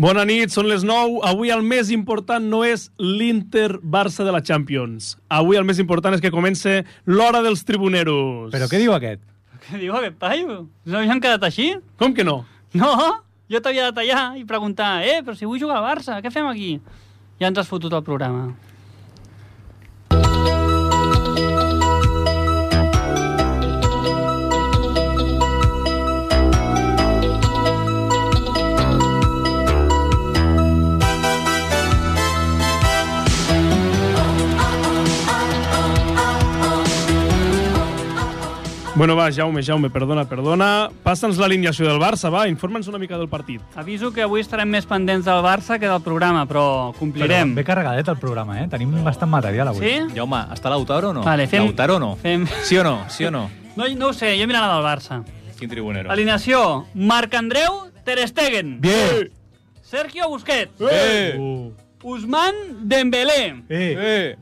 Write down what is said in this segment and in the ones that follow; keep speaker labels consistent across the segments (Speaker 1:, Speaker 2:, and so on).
Speaker 1: Bona nit, són les 9. Avui el més important no és l'Inter-Barça de la Champions. Avui el més important és que comence l'hora dels tribuneros.
Speaker 2: Però què diu aquest?
Speaker 3: Què diu aquest paio? No havien quedat així?
Speaker 1: Com que no?
Speaker 3: No, jo t'havia de tallar i preguntar, eh, però si vull jugar a Barça, què fem aquí? Ja ens has fotut el programa.
Speaker 1: Bueno, va, Jaume, Jaume, perdona, perdona. Passa'ns l'alineació del Barça, va, informa'ns una mica del partit.
Speaker 3: Aviso que avui estarem més pendents del Barça que del programa, però complirem.
Speaker 2: Ve carregadet el programa, eh? Tenim bastant material avui.
Speaker 3: Sí?
Speaker 4: Jaume, està Lautaro o no?
Speaker 3: Vale, fem-
Speaker 4: Lautaro o no?
Speaker 3: fem-
Speaker 4: Sí o no? Sí o no?
Speaker 3: No, no ho sé, jo he mirat la del Barça.
Speaker 4: Quin tribunero.
Speaker 3: Alineació, Marc Andreu, Ter
Speaker 1: Eh,
Speaker 3: Stegen.
Speaker 2: Bien!
Speaker 3: Sergio Busquets.
Speaker 4: Eh!
Speaker 2: Uh.
Speaker 3: Usman Dembélé.
Speaker 2: Eh!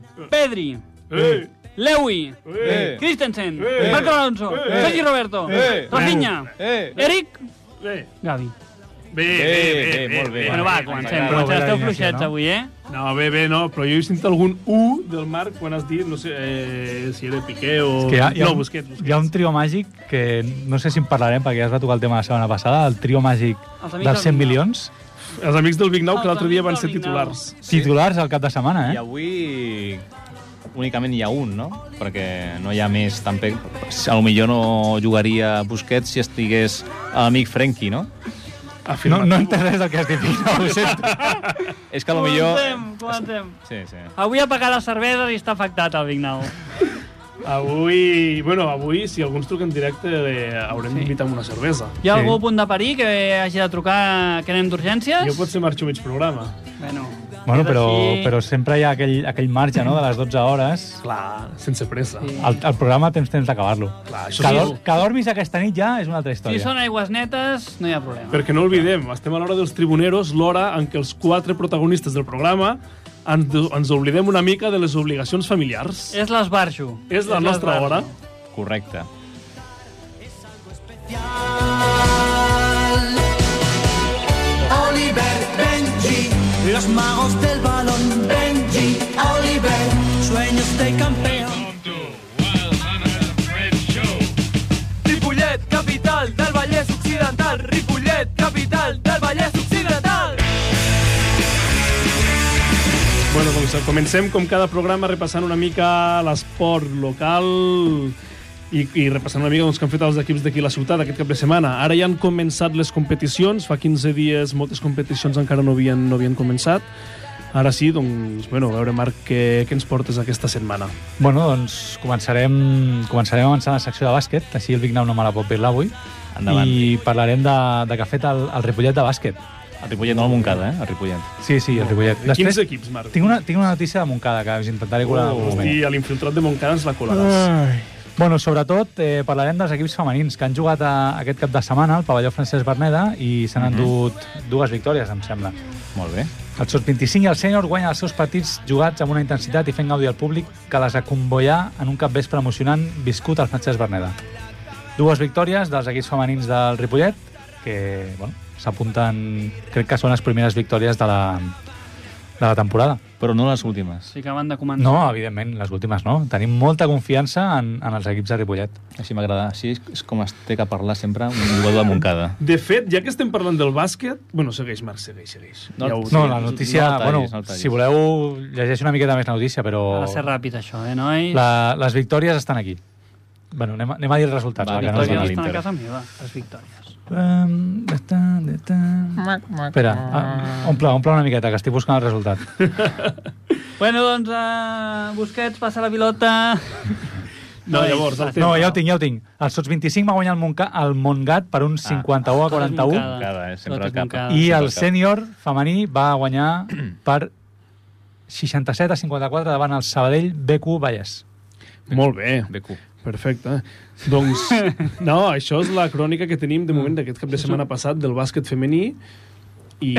Speaker 4: Eh!
Speaker 3: Pedri.
Speaker 1: Eh!
Speaker 3: Lewi.
Speaker 4: Eh!
Speaker 3: Christensen. Marco Alonso. Sergi Roberto.
Speaker 4: Eh.
Speaker 3: Rafinha.
Speaker 4: Eh!
Speaker 3: Eric.
Speaker 1: Bé,
Speaker 3: Gavi.
Speaker 1: eh. bé, bé,
Speaker 4: bé, molt bé.
Speaker 3: Bueno, va, comencem. Comencem.
Speaker 4: Molt
Speaker 2: bona
Speaker 3: Esteu
Speaker 2: alineació,
Speaker 3: fluixets
Speaker 2: no?
Speaker 3: avui, eh?
Speaker 1: No, bé, bé, no, però jo he sentit algun U del Marc quan has dit, no sé, eh, si era Piqué o...
Speaker 2: Que hi ha, hi ha
Speaker 1: no,
Speaker 2: un,
Speaker 1: Busquets, Busquets.
Speaker 2: hi ha un trio màgic que no sé si en parlarem perquè ja es va tocar el tema la setmana passada, el trio màgic
Speaker 3: Els amics del
Speaker 2: dels 100
Speaker 3: Vignau.
Speaker 2: milions,
Speaker 1: Els amics del Big Nou que
Speaker 3: Els
Speaker 1: l'altre dia van
Speaker 3: amics
Speaker 1: ser
Speaker 3: del Big Nou.
Speaker 1: titulars.
Speaker 2: titulars al cap de setmana,
Speaker 4: I
Speaker 2: eh?
Speaker 4: avui únicament hi ha un, no? Perquè no hi ha més. Tampoc, a lo millor no jugaria Busquets si estigués amic Frenkie, no?
Speaker 2: No,
Speaker 1: Afirmatiu.
Speaker 2: no entenc res del que has dit, Vignau, ho sento.
Speaker 4: És que a lo millor...
Speaker 3: Comencem, comencem.
Speaker 4: Sí, sí.
Speaker 3: Avui ha pagat la cervesa i està afectat el Vignau.
Speaker 1: Avui, bueno, avui, si alguns truquen directe, eh, haurem sí. d'invitar amb una cervesa.
Speaker 3: Hi
Speaker 2: Sí.
Speaker 3: ha algú a punt de parir que hagi de trucar que anem d'urgències?
Speaker 1: Jo potser marxo mig programa.
Speaker 3: Bueno,
Speaker 2: Bueno,
Speaker 3: és
Speaker 2: però,
Speaker 3: així.
Speaker 2: però sempre hi ha aquell, aquell marge, no?, de les 12 hores.
Speaker 1: Clar, sense pressa.
Speaker 3: Sí.
Speaker 2: El, el programa tens temps d'acabar-lo.
Speaker 1: Clar, això
Speaker 2: Que,
Speaker 1: sí.
Speaker 2: dor, que dormis aquesta nit ja és una altra
Speaker 3: Si
Speaker 2: història.
Speaker 3: són aigües netes, no hi ha problema.
Speaker 1: Perquè no oblidem, estem a l'hora dels tribuneros, l'hora en què els quatre protagonistes del programa ens, ens oblidem una mica de les obligacions familiars. És,
Speaker 3: És l'esbarjo.
Speaker 1: és la nostra
Speaker 3: l'esbarjo.
Speaker 1: hora.
Speaker 4: Correcte.
Speaker 5: Oliver, Benji, los magos del balón, Benji, Oliver, sueños de campeón. Ripollet, capital del Vallès Occidental, Ripollet, capital del Vallès Occidental.
Speaker 1: Bueno, doncs comencem com cada programa repassant una mica l'esport local i, i repassant una mica doncs, que han fet els equips d'aquí a la ciutat aquest cap de setmana. Ara ja han començat les competicions, fa 15 dies moltes competicions encara no havien, no havien començat. Ara sí, doncs, bueno, a veure, Marc, què, què ens portes aquesta setmana?
Speaker 2: Bueno, doncs començarem, començarem avançant la secció de bàsquet, així el Big Now no me la pot pilar avui.
Speaker 4: Endavant.
Speaker 2: I parlarem de, de que ha fet el, el Ripollet de bàsquet.
Speaker 4: El Ripollet, no el Montcada, eh? El Ripollet.
Speaker 2: Sí, sí, el Ripollet.
Speaker 1: Després, Quins equips, Marc?
Speaker 2: Tinc una, tinc una notícia de Montcada que us intentaré colar en
Speaker 1: Oh,
Speaker 2: algun moment.
Speaker 1: hosti, l'infiltrat de Montcada ens la
Speaker 2: Ah.
Speaker 1: colaràs.
Speaker 2: Bueno, sobretot eh, parlarem dels equips femenins que han jugat a, aquest cap de setmana al pavelló Francesc Berneda i
Speaker 1: Mhm.
Speaker 2: s'han endut dues victòries, em sembla.
Speaker 4: Molt bé.
Speaker 2: El Sot 25 i el Sènior guanyen els seus partits jugats amb una intensitat i fent gaudir al públic que les acomboià en un capvespre emocionant viscut al Francesc Berneda. Dues victòries dels equips femenins del Ripollet, que bueno, s'apunten... Crec que són les primeres victòries de la, de la temporada.
Speaker 4: Però no les últimes.
Speaker 3: Sí que van de començar.
Speaker 2: No, evidentment, les últimes no. Tenim molta confiança en, en els equips de Ripollet.
Speaker 4: Així m'agrada. Així és- és com es té que parlar sempre un jugador de Montcada.
Speaker 1: De fet, ja que estem parlant del bàsquet... Bueno, segueix, Marc, segueix, segueix.
Speaker 4: No,
Speaker 1: ho-
Speaker 4: Sí,
Speaker 2: No, la
Speaker 4: no-
Speaker 2: notícia...
Speaker 4: no el tallis,
Speaker 2: bueno,
Speaker 4: no el tallis.
Speaker 2: si voleu, llegeixo una miqueta més la notícia, però...
Speaker 3: Ha de ser ràpid, això, eh, nois?
Speaker 2: La, les victòries estan aquí. Bueno, anem, a- anem a dir els resultats.
Speaker 4: Va,
Speaker 2: va, que no
Speaker 3: victòries
Speaker 2: els
Speaker 4: victòria.
Speaker 2: dono.
Speaker 3: estan a
Speaker 4: l'Inter.
Speaker 3: casa meva, les victòries.
Speaker 2: Em, de tan, de tan. Espera, ah, omple, omple una miqueta, que estic buscant el resultat.
Speaker 3: Bueno, doncs, uh, Busquets passa la pilota.
Speaker 1: No, llavors, el tema...
Speaker 2: No, ja ho tinc, ja ho tinc. El Sots 25 va guanyar el, Montca, el Montgat per
Speaker 1: Ah,
Speaker 2: un 51 a
Speaker 3: tot és
Speaker 2: 41
Speaker 3: Montcada.
Speaker 4: Montcada, eh? Sempre
Speaker 3: Tot
Speaker 4: al
Speaker 3: és
Speaker 4: cap.
Speaker 3: Montcada.
Speaker 2: i
Speaker 4: Sempre
Speaker 2: el
Speaker 4: al cap.
Speaker 2: sènior femení va guanyar per 67 a 54 davant el Sabadell BQ Vallès.
Speaker 1: Molt bé,
Speaker 4: BQ.
Speaker 1: perfecte. Doncs, no, això és la crònica que tenim de moment
Speaker 4: Ah.
Speaker 1: d'aquest cap de setmana passat del bàsquet femení i...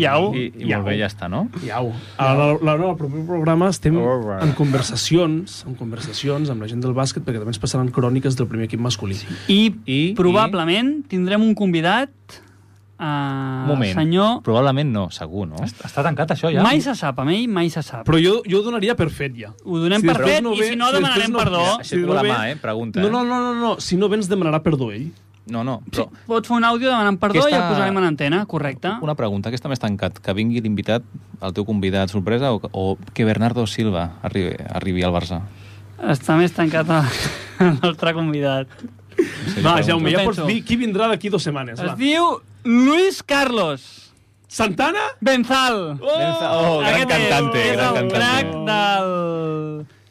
Speaker 3: Iau.
Speaker 4: I, i molt bé, ja està, no?
Speaker 1: Iau. A la, la, la, el proper programa estem
Speaker 4: Alright.
Speaker 1: en conversacions, en conversacions amb la gent del bàsquet, perquè també ens passaran cròniques del primer equip masculí.
Speaker 3: I, I
Speaker 4: I-
Speaker 3: probablement tindrem un convidat a
Speaker 4: moment.
Speaker 3: Ah, senyor...
Speaker 4: Probablement no, segur, no?
Speaker 2: Està tancat, això, ja?
Speaker 3: Mai se sap, a mi mai se sap.
Speaker 1: Però jo, jo ho donaria per fet, ja.
Speaker 3: Ho donem
Speaker 1: Si
Speaker 3: per
Speaker 1: després
Speaker 3: fet i si no
Speaker 1: després
Speaker 3: demanarem perdó.
Speaker 1: ja,
Speaker 4: Aixeco la mà, eh? Pregunta,
Speaker 1: No,
Speaker 4: eh?
Speaker 1: no, no, no, no. Si no vens, demanarà perdó ell.
Speaker 4: No, no,
Speaker 3: Sí, Ah.
Speaker 4: però...
Speaker 3: pots fer un àudio demanant perdó
Speaker 4: Aquesta-
Speaker 3: i el posarem en antena, correcte.
Speaker 4: Una pregunta, aquesta més tancat, que vingui l'invitat, el teu convidat sorpresa, o, o que Bernardo Silva arribi, arribi al Barça?
Speaker 3: Està més tancat el, el nostre convidat.
Speaker 4: Sí,
Speaker 1: Va,
Speaker 4: pregunto.
Speaker 1: Jaume, ja
Speaker 3: Ho
Speaker 1: pots
Speaker 3: penso.
Speaker 1: dir qui vindrà d'aquí dues setmanes.
Speaker 3: Es
Speaker 1: Va.
Speaker 3: diu Luis Carlos
Speaker 1: Santana?
Speaker 3: Benzal.
Speaker 4: Oh, gran
Speaker 3: Aquest és-
Speaker 4: cantante,
Speaker 3: és
Speaker 4: gran
Speaker 3: el
Speaker 4: cantante.
Speaker 3: crac del...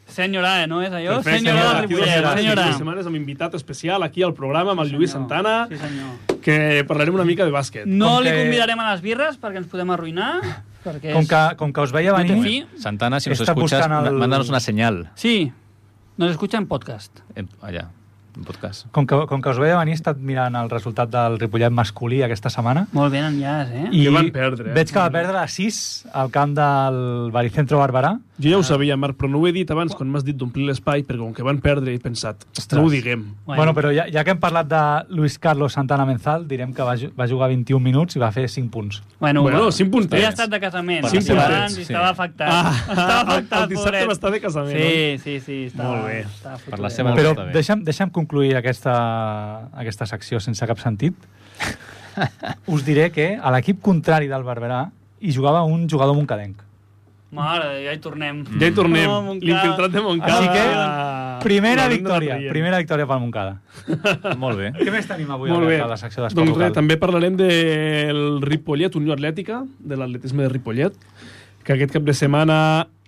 Speaker 3: Senyora, eh, no és allò?
Speaker 1: Perfecte,
Speaker 3: senyora del
Speaker 1: D'aquí dues
Speaker 3: Ripollet,
Speaker 1: setmanes,
Speaker 3: senyora.
Speaker 1: d'aquí Dues setmanes amb invitat especial aquí al programa amb el Lluís
Speaker 3: Senyor.
Speaker 1: Santana,
Speaker 3: Sí, senyor.
Speaker 1: que parlarem una mica de
Speaker 4: Eh,
Speaker 1: bàsquet.
Speaker 3: No
Speaker 2: Com
Speaker 3: li
Speaker 2: que-
Speaker 3: convidarem a les birres perquè ens podem arruïnar. Perquè
Speaker 2: Com
Speaker 3: és-
Speaker 2: que, com que us veia
Speaker 3: No té
Speaker 2: venir...
Speaker 3: fi.
Speaker 4: Santana, si nos
Speaker 2: Està
Speaker 4: escuchas,
Speaker 2: buscant el-
Speaker 4: el... mándanos una señal.
Speaker 3: Sí, nos escucha en podcast.
Speaker 4: En- Allà, en podcast.
Speaker 2: Com que, com que us veia venir, he estat mirant el resultat del Ripollet masculí aquesta setmana.
Speaker 3: Molt ben enllaç, eh?
Speaker 1: Que van perdre, eh?
Speaker 2: Veig que va perdre a 6 al camp del Baricentro Barberà.
Speaker 1: Jo
Speaker 3: Ah.
Speaker 1: ja ho sabia, Marc, però no ho he dit abans quan m'has dit d'omplir l'espai, perquè com que van perdre he pensat,
Speaker 2: Ostres.
Speaker 1: no ho diguem.
Speaker 2: Bueno, bueno però ja, ja que hem parlat de Luis Carlos Santana Menzal, direm que va, ju- va jugar 21 minuts i va fer 5 punts.
Speaker 3: Bueno,
Speaker 1: Bueno,
Speaker 3: va.
Speaker 1: cinc puntets.
Speaker 3: Havia estat de casament.
Speaker 4: Per
Speaker 3: Sí,
Speaker 1: cinc
Speaker 3: abans
Speaker 4: puntets,
Speaker 3: i
Speaker 4: sí.
Speaker 3: estava afectat.
Speaker 1: Ah,
Speaker 3: estava
Speaker 1: el- el
Speaker 3: afectat,
Speaker 1: dissabte
Speaker 3: pobret.
Speaker 1: va estar de casament,
Speaker 3: Sí, sí, sí. Estava,
Speaker 1: Molt bé.
Speaker 3: Estava
Speaker 4: Per la
Speaker 3: fotudet.
Speaker 4: seva-
Speaker 2: Però
Speaker 4: està bé.
Speaker 2: deixa'm, deixa'm concluir aquesta, aquesta secció sense cap sentit. Us diré que a l'equip contrari del Barberà hi jugava un jugador moncadenc.
Speaker 3: Mare, de Déu, ja hi tornem.
Speaker 1: Mm. Ja hi tornem.
Speaker 3: No, Ah, Montcada.
Speaker 1: L'infiltrat de Ah, Montcada.
Speaker 2: Així que,
Speaker 1: L'haurem
Speaker 2: Primera
Speaker 1: d'anar
Speaker 2: victòria,
Speaker 1: traient.
Speaker 2: primera victòria pel Montcada.
Speaker 4: Molt bé.
Speaker 2: Què més tenim avui
Speaker 1: Molt bé.
Speaker 2: a la secció d'esport
Speaker 1: Doncs res,
Speaker 2: local?
Speaker 1: també parlarem del Ripollet, Unió Atlètica, de l'atletisme de Ripollet, que aquest cap de setmana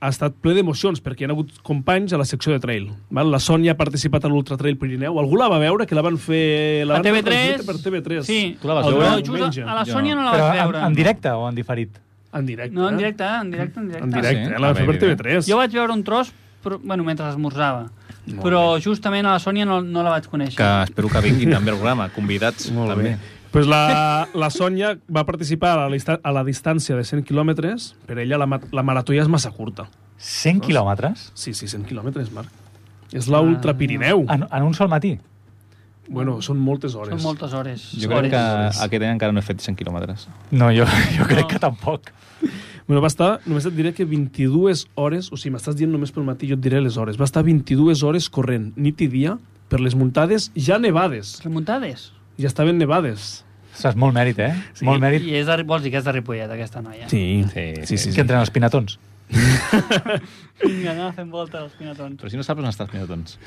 Speaker 1: ha estat ple d'emocions perquè hi ha hagut companys a la secció de trail. Val? La Sònia ha participat a l'Ultra Trail Pirineu. Algú la va veure, que la van fer... La
Speaker 3: A
Speaker 1: van
Speaker 3: TV3...
Speaker 1: retransmetre Per TV3.
Speaker 3: Sí.
Speaker 4: Tu la vas
Speaker 1: El
Speaker 4: veure?
Speaker 3: No, just
Speaker 1: diumenge.
Speaker 3: a, a la
Speaker 4: Jo
Speaker 3: Sònia no la
Speaker 2: Però
Speaker 3: vaig
Speaker 2: en,
Speaker 3: veure.
Speaker 2: en directe o en diferit?
Speaker 1: En directe. eh?
Speaker 3: No, en directe, en directe, en directe.
Speaker 1: En directe,
Speaker 4: Ah, sí?
Speaker 1: eh? la va
Speaker 4: Ah,
Speaker 1: fer
Speaker 4: bé,
Speaker 1: per
Speaker 4: bé, bé.
Speaker 1: TV3.
Speaker 3: Jo vaig veure un tros, però, bueno, mentre esmorzava. però justament a la Sònia no, no la vaig conèixer.
Speaker 4: Que espero que vingui també al programa, convidats
Speaker 1: Molt
Speaker 4: també.
Speaker 1: bé. Pues la, la Sònia va participar a la, dista- a la distància de 100 quilòmetres. Per ella la, ma- la marató ja és massa curta.
Speaker 2: 100 quilòmetres?
Speaker 1: Sí, sí, 100 quilòmetres, Marc. És la
Speaker 3: Ah.
Speaker 1: Ultra Pirineu.
Speaker 2: En, en un sol matí?
Speaker 1: Bueno, són moltes hores.
Speaker 3: Són moltes hores.
Speaker 4: Jo
Speaker 3: hores.
Speaker 4: crec que aquest any encara no he fet 100 quilòmetres.
Speaker 2: No, jo, jo crec que tampoc.
Speaker 1: Bueno, va estar, només et diré que 22 hores, o sigui, m'estàs dient només pel matí, jo et diré les hores. Va estar 22 hores corrent, nit i dia, per les muntades ja nevades.
Speaker 3: Remuntades.
Speaker 1: Ja estaven nevades.
Speaker 2: Ostres, molt mèrit, eh?
Speaker 1: Sí.
Speaker 2: Molt mèrit.
Speaker 3: I és de, vols dir que és de Ripollet, aquesta noia.
Speaker 1: Sí,
Speaker 4: sí, sí.
Speaker 2: Que entren els pinatons.
Speaker 3: Vinga, anava fent volta als pinatons.
Speaker 4: Però si no saps on estàs, mira, doncs.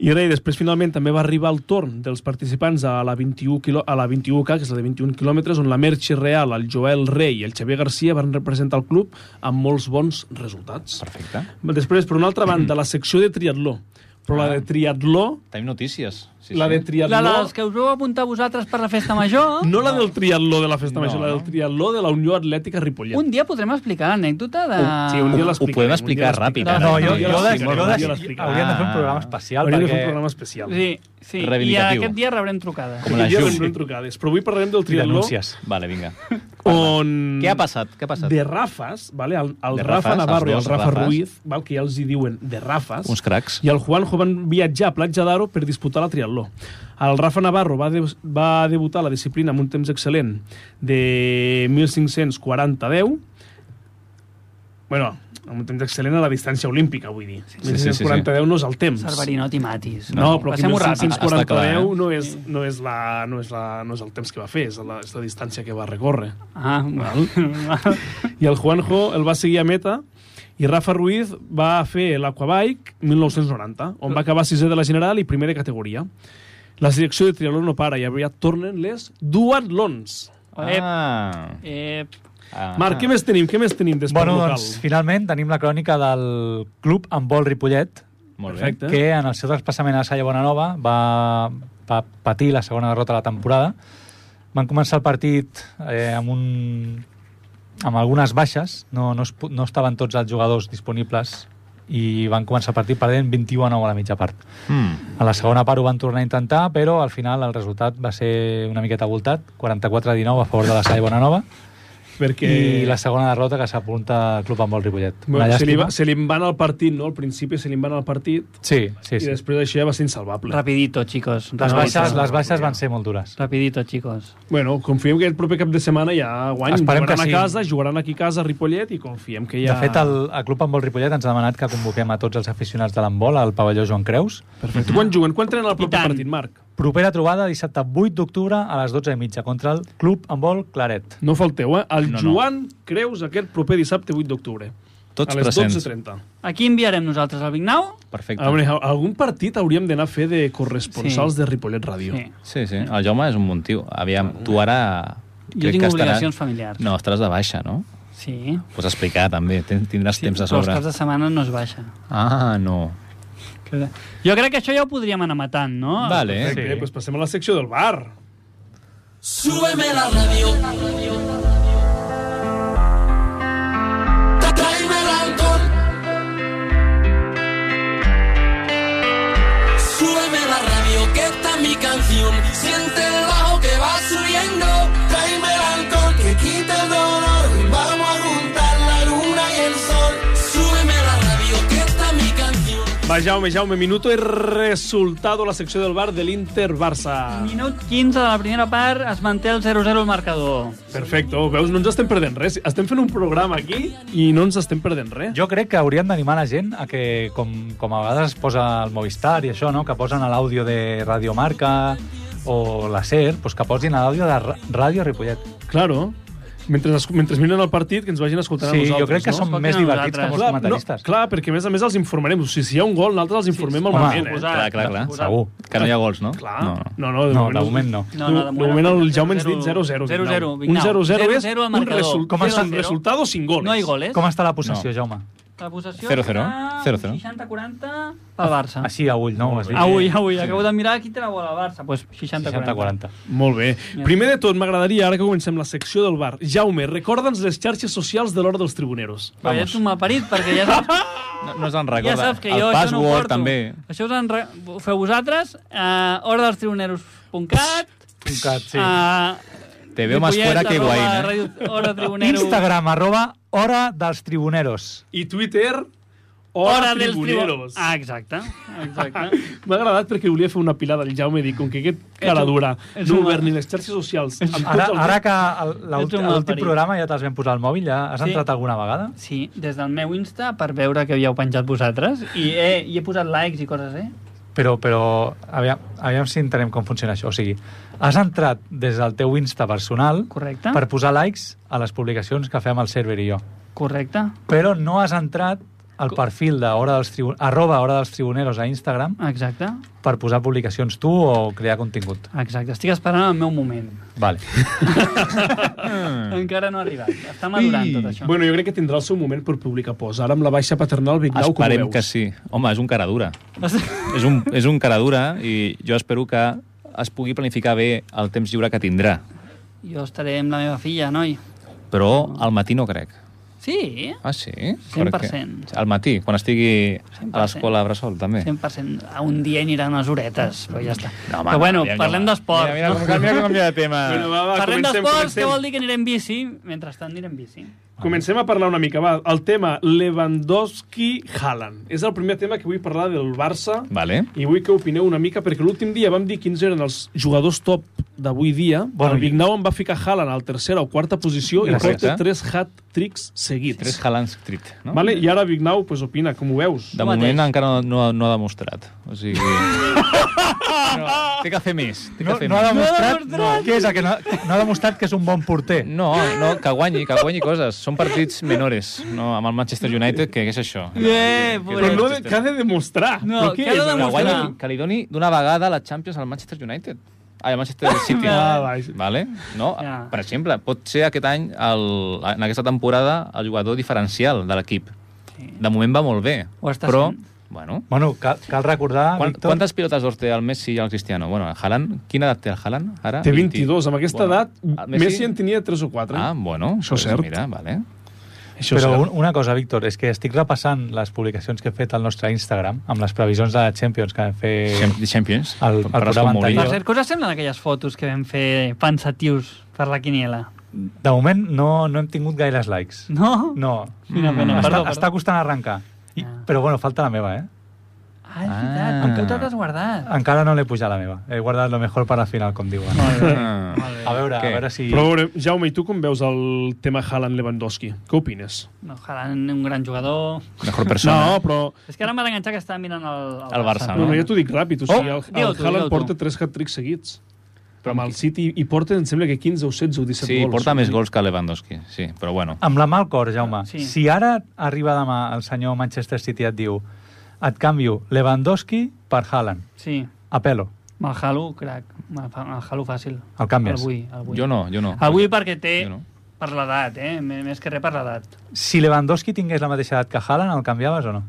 Speaker 1: I res, després finalment també va arribar el torn dels participants a la 21 quilò... a la 21K, que és la de 21 quilòmetres, on la Merche Real, el Joel Rey i el Xavier Garcia van representar el club amb molts bons resultats.
Speaker 4: Perfecte.
Speaker 1: Després, per una altra banda, la secció de triatló. Però la de triatló,
Speaker 4: Tenim notícies. Sí,
Speaker 1: la
Speaker 4: sí.
Speaker 1: de triatló...
Speaker 3: La, les que us vau apuntar vosaltres per la festa major,
Speaker 1: No la del triatló de la Festa
Speaker 4: No,
Speaker 1: Major, la del
Speaker 4: no.
Speaker 1: triatló de la Unió Atlètica Ripollet.
Speaker 3: un dia podrem explicar l'anècdota de...
Speaker 1: Sí, un dia
Speaker 4: Ho- ho
Speaker 1: l'explicarem, un
Speaker 4: podem
Speaker 1: dia
Speaker 4: explicar
Speaker 1: l'explicarem.
Speaker 4: ràpid, ara.
Speaker 2: No,
Speaker 4: No,
Speaker 2: jo,
Speaker 4: jo
Speaker 2: jo,
Speaker 4: les-
Speaker 2: des,
Speaker 1: sí,
Speaker 2: jo
Speaker 1: un
Speaker 2: des,
Speaker 1: dia l'explicarem.
Speaker 2: hauríem de fer un
Speaker 4: Ah.
Speaker 2: programa especial
Speaker 1: Hauríem de fer
Speaker 2: perquè...
Speaker 1: un programa especial.
Speaker 3: Sí, sí. I
Speaker 4: Reivindicatiu.
Speaker 3: aquest dia rebrem trucades.
Speaker 4: Com la
Speaker 1: Aquell dia
Speaker 4: Ju.
Speaker 1: vendrem trucades. Però avui parlarem del
Speaker 2: i
Speaker 1: triatló
Speaker 2: denúncies.
Speaker 4: Vale, vinga.
Speaker 1: on...
Speaker 4: Què ha passat? Què ha passat?
Speaker 1: De Rafas, vale? el, el
Speaker 4: De
Speaker 1: Rafa
Speaker 4: Rafas,
Speaker 1: Navarro i el
Speaker 4: els dos
Speaker 1: Rafa
Speaker 4: Rafas.
Speaker 1: Ruiz, val? que ja els hi diuen de Rafas,
Speaker 4: Uns cracs.
Speaker 1: i el Juanjo van viatjar a Platja d'Aro per disputar la triatló. El Rafa Navarro va, de, va debutar a la disciplina amb un temps excel·lent de 1540-10, bueno, amb un temps excel·lent a la distància olímpica, vull dir.
Speaker 4: sí, sí, sí.
Speaker 1: 1540-10 no és el temps.
Speaker 3: Cerverinot i Matis.
Speaker 1: No, però que
Speaker 3: Passem-ho ràpid.
Speaker 4: Ah, està clar, eh?
Speaker 1: 1540-10 no, és, no, és la, no, és la, no és el temps que va fer, és la, és la distància que va recórrer.
Speaker 3: Ah, val.
Speaker 1: I el Juanjo el va seguir a meta i Rafa Ruiz va fer l'Aquabike 1990, on va acabar sisè de la general i primer de categoria. La selecció de triatló no para i aviat tornen les duatlons.
Speaker 4: Ah.
Speaker 3: Ep,
Speaker 4: ah.
Speaker 1: Marc, què més tenim? Què més tenim d'esport
Speaker 2: Bueno,
Speaker 1: local?
Speaker 2: doncs, finalment tenim la crònica del club amb vol Ripollet,
Speaker 4: Molt bé.
Speaker 1: Perfecte.
Speaker 2: que en el seu traspassament a Salle Bonanova va, va patir la segona derrota de la temporada. Van començar el partit eh, amb un amb algunes baixes, no, no, es, pu- no estaven tots els jugadors disponibles i van començar el partit perdent 21 a 9 a la mitja part.
Speaker 4: Mm.
Speaker 2: A la segona part ho van tornar a intentar, però al final el resultat va ser una miqueta voltat, 44 a 19 a favor de la Salle Bonanova
Speaker 1: perquè...
Speaker 2: I la segona derrota que s'apunta al club amb el Ripollet. Una
Speaker 1: Bueno, se, li va,
Speaker 2: llàstima.
Speaker 1: se li van al partit, no? Al principi se li van al partit
Speaker 2: Sí, sí,
Speaker 1: i
Speaker 2: sí.
Speaker 1: després això ja va ser insalvable.
Speaker 3: Rapidito, chicos.
Speaker 2: Les
Speaker 3: rapidito.
Speaker 2: baixes, les baixes van ser molt dures.
Speaker 3: Rapidito, chicos.
Speaker 1: Bueno, confiem que el proper cap de setmana ja guany.
Speaker 2: Esperem que
Speaker 1: jugaran
Speaker 2: sí.
Speaker 1: a casa, jugaran aquí a casa a Ripollet i confiem que
Speaker 2: De
Speaker 1: ja...
Speaker 2: fet, el, el Club Handbol Ripollet ens ha demanat que convoquem a tots els aficionats de l'handbol al pavelló Joan Creus.
Speaker 1: Perfecte. Quan juguen? Quan tenen el proper
Speaker 3: tant.
Speaker 1: partit, Marc?
Speaker 2: Propera trobada dissabte 8 d'octubre a les 12 i mitja contra el Club Handbol Claret.
Speaker 1: No falteu, eh? El
Speaker 4: No, no.
Speaker 1: Joan Creus aquest proper dissabte 8 d'octubre.
Speaker 4: Tots
Speaker 1: a les
Speaker 4: presents.
Speaker 1: 12.30.
Speaker 3: Aquí enviarem nosaltres al Vignau.
Speaker 4: Perfecte.
Speaker 1: A veure, algun partit hauríem d'anar a fer de corresponsals
Speaker 3: Sí.
Speaker 1: de Ripollet Ràdio.
Speaker 3: Sí.
Speaker 4: Sí, sí. El Jaume és un bon tio. Aviam, tu ara...
Speaker 3: Jo
Speaker 4: crec
Speaker 3: tinc
Speaker 4: que
Speaker 3: obligacions familiars.
Speaker 4: No, estaràs de baixa, no?
Speaker 3: Sí.
Speaker 4: Pots explicar, també. Ten- Tindràs
Speaker 3: sí
Speaker 4: temps a
Speaker 3: però els
Speaker 4: sobre.
Speaker 3: caps de setmana no es baixa.
Speaker 4: Ah, no.
Speaker 3: Jo crec que això ja ho podríem anar matant, no?
Speaker 4: Vale, eh?
Speaker 1: Perfecte, doncs passem a la secció del bar.
Speaker 5: Súbeme la radio. Tráeme el alcohol. Súbeme la radio, que esta es mi canción. Siente el bajo que va subiendo. Tráeme el alcohol, que quita el dolor. Vamos a juntar la luna y el sol. Súbeme la radio, que esta es mi canción.
Speaker 1: Va, Jaume, Jaume, minuto i resultado a la secció del bar de l'Inter-Barça.
Speaker 3: Minut 15 de la primera part, es manté el 0-0 al marcador.
Speaker 1: Perfecte, oh, veus, no ens estem perdent res. Estem fent un programa aquí i no ens estem perdent res.
Speaker 2: Jo crec que hauríem d'animar la gent a que, com, com a vegades es posa el Movistar i això, no? que posen a l'àudio de Radio Marca o la SER, doncs que posin a l'àudio de Ra- Ràdio Ripollet.
Speaker 1: Claro, mentre, es- mentre miren el partit, que ens vagin escoltant a
Speaker 2: Sí,
Speaker 1: nosaltres,
Speaker 2: jo crec que
Speaker 1: no?
Speaker 2: som
Speaker 3: Escoltin
Speaker 2: més
Speaker 3: a
Speaker 2: divertits que
Speaker 3: nosaltres.
Speaker 2: molts
Speaker 1: Clar, no,
Speaker 2: comentaristes.
Speaker 1: clar, perquè a més a més els informarem. O sigui, si hi ha un gol, nosaltres els informem al
Speaker 2: home,
Speaker 1: moment. Eh?
Speaker 3: suposat.
Speaker 4: Clar, clar, clar.
Speaker 3: Suposat.
Speaker 2: Segur.
Speaker 4: Que no hi ha gols, no?
Speaker 1: Clar,
Speaker 4: No, no.
Speaker 1: no, no,
Speaker 2: No, de moment no.
Speaker 3: No, no, de moment,
Speaker 1: moment el
Speaker 3: el
Speaker 1: Jaume ens
Speaker 3: 0-0,
Speaker 1: dit 0-0.
Speaker 3: 0-0,
Speaker 1: Vignau. Un
Speaker 3: Vignau.
Speaker 1: 0-0 és
Speaker 3: 0-0 al
Speaker 1: un,
Speaker 3: marcador.
Speaker 1: resul com és un
Speaker 3: 0-0.
Speaker 1: resultat sin gols.
Speaker 3: No eh? hi goles.
Speaker 2: Com està la possessió, Jaume?
Speaker 3: La possessió
Speaker 4: 0-0,
Speaker 3: està
Speaker 4: 0-0.
Speaker 3: 60-40 pel Barça. Ah,
Speaker 4: Ah,
Speaker 2: Així a ull, no? Ho has dit?
Speaker 3: Avui, avui, acabo de mirar qui té la bola al Barça. Pues 60-40.
Speaker 2: 60-40.
Speaker 1: Molt bé. Primer de tot, m'agradaria, ara que comencem la secció del bar, Jaume, recorda'ns les xarxes socials de l'hora dels tribuneros.
Speaker 3: Però ja ets un malparit, perquè ja saps,
Speaker 4: No, no se'n
Speaker 3: ja
Speaker 4: recorda.
Speaker 3: saps que
Speaker 4: el
Speaker 3: jo això no ho
Speaker 4: password,
Speaker 3: porto.
Speaker 4: també.
Speaker 3: Això us en re... ho feu vosaltres. Uh, hora dels tribuneros.cat
Speaker 2: Un cat, sí.
Speaker 3: Ah,
Speaker 4: Te veo más fuera que Higuaín, eh?
Speaker 3: Hora tribunero.
Speaker 2: Instagram, arroba, hora dels tribuneros.
Speaker 1: I Twitter, Hora,
Speaker 3: Hora dels
Speaker 1: Tribuneros.
Speaker 3: tribuneros. Ah, exacte. exacte.
Speaker 1: M'ha agradat perquè volia fer una pilada al Jaume i dir, com que aquest cara
Speaker 3: un-
Speaker 1: dura
Speaker 3: ets
Speaker 1: no
Speaker 3: un-
Speaker 1: ha obert ni les xarxes socials... amb tots
Speaker 2: Ara,
Speaker 1: els-
Speaker 2: ara que el-
Speaker 3: Ets un
Speaker 2: l'últim
Speaker 3: mal
Speaker 2: l'últim
Speaker 3: parit.
Speaker 2: programa ja te'ls vam posar al mòbil, ja has
Speaker 3: Sí.
Speaker 2: entrat alguna vegada?
Speaker 3: Sí, des del meu Insta per veure que havíeu penjat vosaltres. I he, i he posat likes i coses, eh?
Speaker 2: Però, però aviam, aviam si entenem com funciona això. O sigui, has entrat des del teu Insta personal
Speaker 3: Correcte.
Speaker 2: per posar likes a les publicacions que fem el server i jo.
Speaker 3: Correcte.
Speaker 2: Però no has entrat al perfil de hora dels Tribu- arroba hora dels tribuneros a Instagram
Speaker 3: Exacte.
Speaker 2: per posar publicacions tu o crear contingut.
Speaker 3: Exacte. Estic esperant el meu moment.
Speaker 2: Vale.
Speaker 3: Encara no ha arribat. Està madurant
Speaker 4: Mm. Ui.
Speaker 3: tot això.
Speaker 1: Bueno, jo crec que tindrà el seu moment per publicar posa. Ara amb la baixa paternal, Vignau, com ho
Speaker 4: Esperem
Speaker 1: veus?
Speaker 4: que sí. Home, és un cara dura. És un, és un cara dura i jo espero que es pugui planificar bé el temps lliure que tindrà.
Speaker 3: Jo estaré amb la meva filla, noi.
Speaker 4: Però al matí no crec.
Speaker 3: Sí,
Speaker 4: Ah, sí?
Speaker 3: 100%.
Speaker 4: Perquè- Al matí, quan estigui a l'escola Bressol, també.
Speaker 3: 100%. A Un dia aniran les horetes, però ja està.
Speaker 4: No,
Speaker 3: No,
Speaker 4: home,
Speaker 3: però bueno,
Speaker 4: aviam,
Speaker 3: parlem
Speaker 4: home.
Speaker 3: d'esport.
Speaker 4: Mira, mira,
Speaker 3: no?
Speaker 4: com- mira com canvia de tema.
Speaker 1: Bueno, va, va,
Speaker 3: Parlem
Speaker 1: comencem,
Speaker 3: d'esports,
Speaker 1: comencem.
Speaker 3: què vol dir que anirem bici? Mentrestant anirem bici.
Speaker 1: Comencem a parlar una mica, va. El tema Lewandowski-Haaland. És el primer tema que vull parlar del Barça
Speaker 4: Vale.
Speaker 1: i vull que opineu una mica, perquè l'últim dia vam dir quins eren els jugadors top d'avui dia.
Speaker 2: Bueno,
Speaker 1: Bueno, el Vignau em va ficar Haaland a la tercera o quarta posició i
Speaker 4: Gràcies,
Speaker 1: porta
Speaker 4: eh?
Speaker 1: tres hat-tricks seguits.
Speaker 4: Tres Haaland Street, no?
Speaker 1: Vale? I ara Vignau, pues, opina, com ho veus?
Speaker 4: De
Speaker 3: Tu mateix.
Speaker 4: moment encara no, no, no ha demostrat. O sigui... No, té que fer més. Té
Speaker 2: No,
Speaker 4: que fer
Speaker 2: no ha
Speaker 4: més.
Speaker 2: demostrat, que és el que no, no ha demostrat que és un bon porter.
Speaker 4: No, no, que guanyi, que guanyi coses. Són partits menores, no? Amb el Manchester United, que és això.
Speaker 3: Eh,
Speaker 1: Però no,
Speaker 3: pobret.
Speaker 1: que ha de demostrar.
Speaker 3: No,
Speaker 1: Però què
Speaker 3: que ha de
Speaker 1: és?
Speaker 4: Que, guanyi,
Speaker 3: demostrar.
Speaker 4: que li doni d'una vegada la Champions al Manchester United. Ai, al Manchester City.
Speaker 1: Ah, vaja.
Speaker 4: Vale? No?
Speaker 3: Ja.
Speaker 4: Per exemple, pot ser aquest any, el, en aquesta temporada, el jugador diferencial de l'equip. De moment va molt bé,
Speaker 3: Ho està
Speaker 4: però...
Speaker 3: sent.
Speaker 4: Bueno,
Speaker 2: Bueno, cal, cal
Speaker 1: Ah,
Speaker 2: recordar,
Speaker 4: Quant,
Speaker 2: Víctor...
Speaker 4: quantes pilotes d'or té el Messi i el Cristiano? Bueno, el Haaland, quina edat té el Haaland ara?
Speaker 1: Té 22. Amb aquesta
Speaker 4: Bueno,
Speaker 1: edat,
Speaker 4: el
Speaker 1: Messi... Messi en tenia 3 o 4.
Speaker 4: Ah, bueno,
Speaker 1: Això és cert.
Speaker 4: Mira, vale.
Speaker 1: Això és
Speaker 2: Però
Speaker 1: cert.
Speaker 2: un, una cosa, Víctor, és que estic repassant les publicacions que he fet al nostre Instagram amb les previsions de la Champions que vam fer...
Speaker 4: Champ- Champions.
Speaker 2: El- el
Speaker 4: Parles
Speaker 2: programa
Speaker 4: com Mourinho.
Speaker 3: Per cert, què us semblen aquelles fotos que vam fer pensatius per la quiniela?
Speaker 2: De moment no, no hem tingut gaires likes.
Speaker 3: No?
Speaker 2: No.
Speaker 3: Quina pena.
Speaker 1: Mm.
Speaker 2: està,
Speaker 3: perdó, perdó.
Speaker 2: està costant arrencar. I,
Speaker 3: Ah.
Speaker 2: Però bueno, falta la meva, eh?
Speaker 3: Ah, és veritat.
Speaker 4: Ah.
Speaker 3: Ah. Amb què t'ho has guardat?
Speaker 2: Encara no l'he pujat la meva. He guardat lo mejor para la final, com diuen.
Speaker 3: Molt bé.
Speaker 4: Ah.
Speaker 2: A veure,
Speaker 4: Què?
Speaker 2: a veure si...
Speaker 1: Però a veure, Jaume, i tu com veus el tema Haaland-Lewandowski? Què opines?
Speaker 3: No, Haaland, un gran jugador.
Speaker 4: Mejor persona.
Speaker 1: No, però...
Speaker 3: És que ara m'ha d'enganxar que estava mirant el,
Speaker 4: El Barça, Ah,
Speaker 1: No,
Speaker 4: no?
Speaker 1: no, ja t'ho dic ràpid. O sigui,
Speaker 3: Oh,
Speaker 1: el,
Speaker 3: digue-ho
Speaker 1: el
Speaker 3: tu, digue-ho
Speaker 1: Haaland
Speaker 3: tu.
Speaker 1: porta tres hat-tricks seguits. Però amb el City i porta, em sembla que 15 o 16 o 17
Speaker 4: Sí,
Speaker 1: gols.
Speaker 4: porta més gols que Lewandowski, sí, però bueno.
Speaker 2: Amb la mà al cor, Jaume.
Speaker 3: Sí.
Speaker 2: Sí. Si ara arriba demà el senyor Manchester City i et diu et canvio Lewandowski per Haaland,
Speaker 3: Sí.
Speaker 2: apelo.
Speaker 3: Me'l jalo, crac. Me'l fa- me'l jalo fàcil.
Speaker 2: El canvies.
Speaker 3: Avui, avui.
Speaker 4: Ah, Jo no, jo no.
Speaker 3: Avui perquè té...
Speaker 4: Jo no.
Speaker 3: Per l'edat, eh? M- Més que res per l'edat.
Speaker 2: Si Lewandowski tingués la mateixa edat que Haaland, el canviaves o no?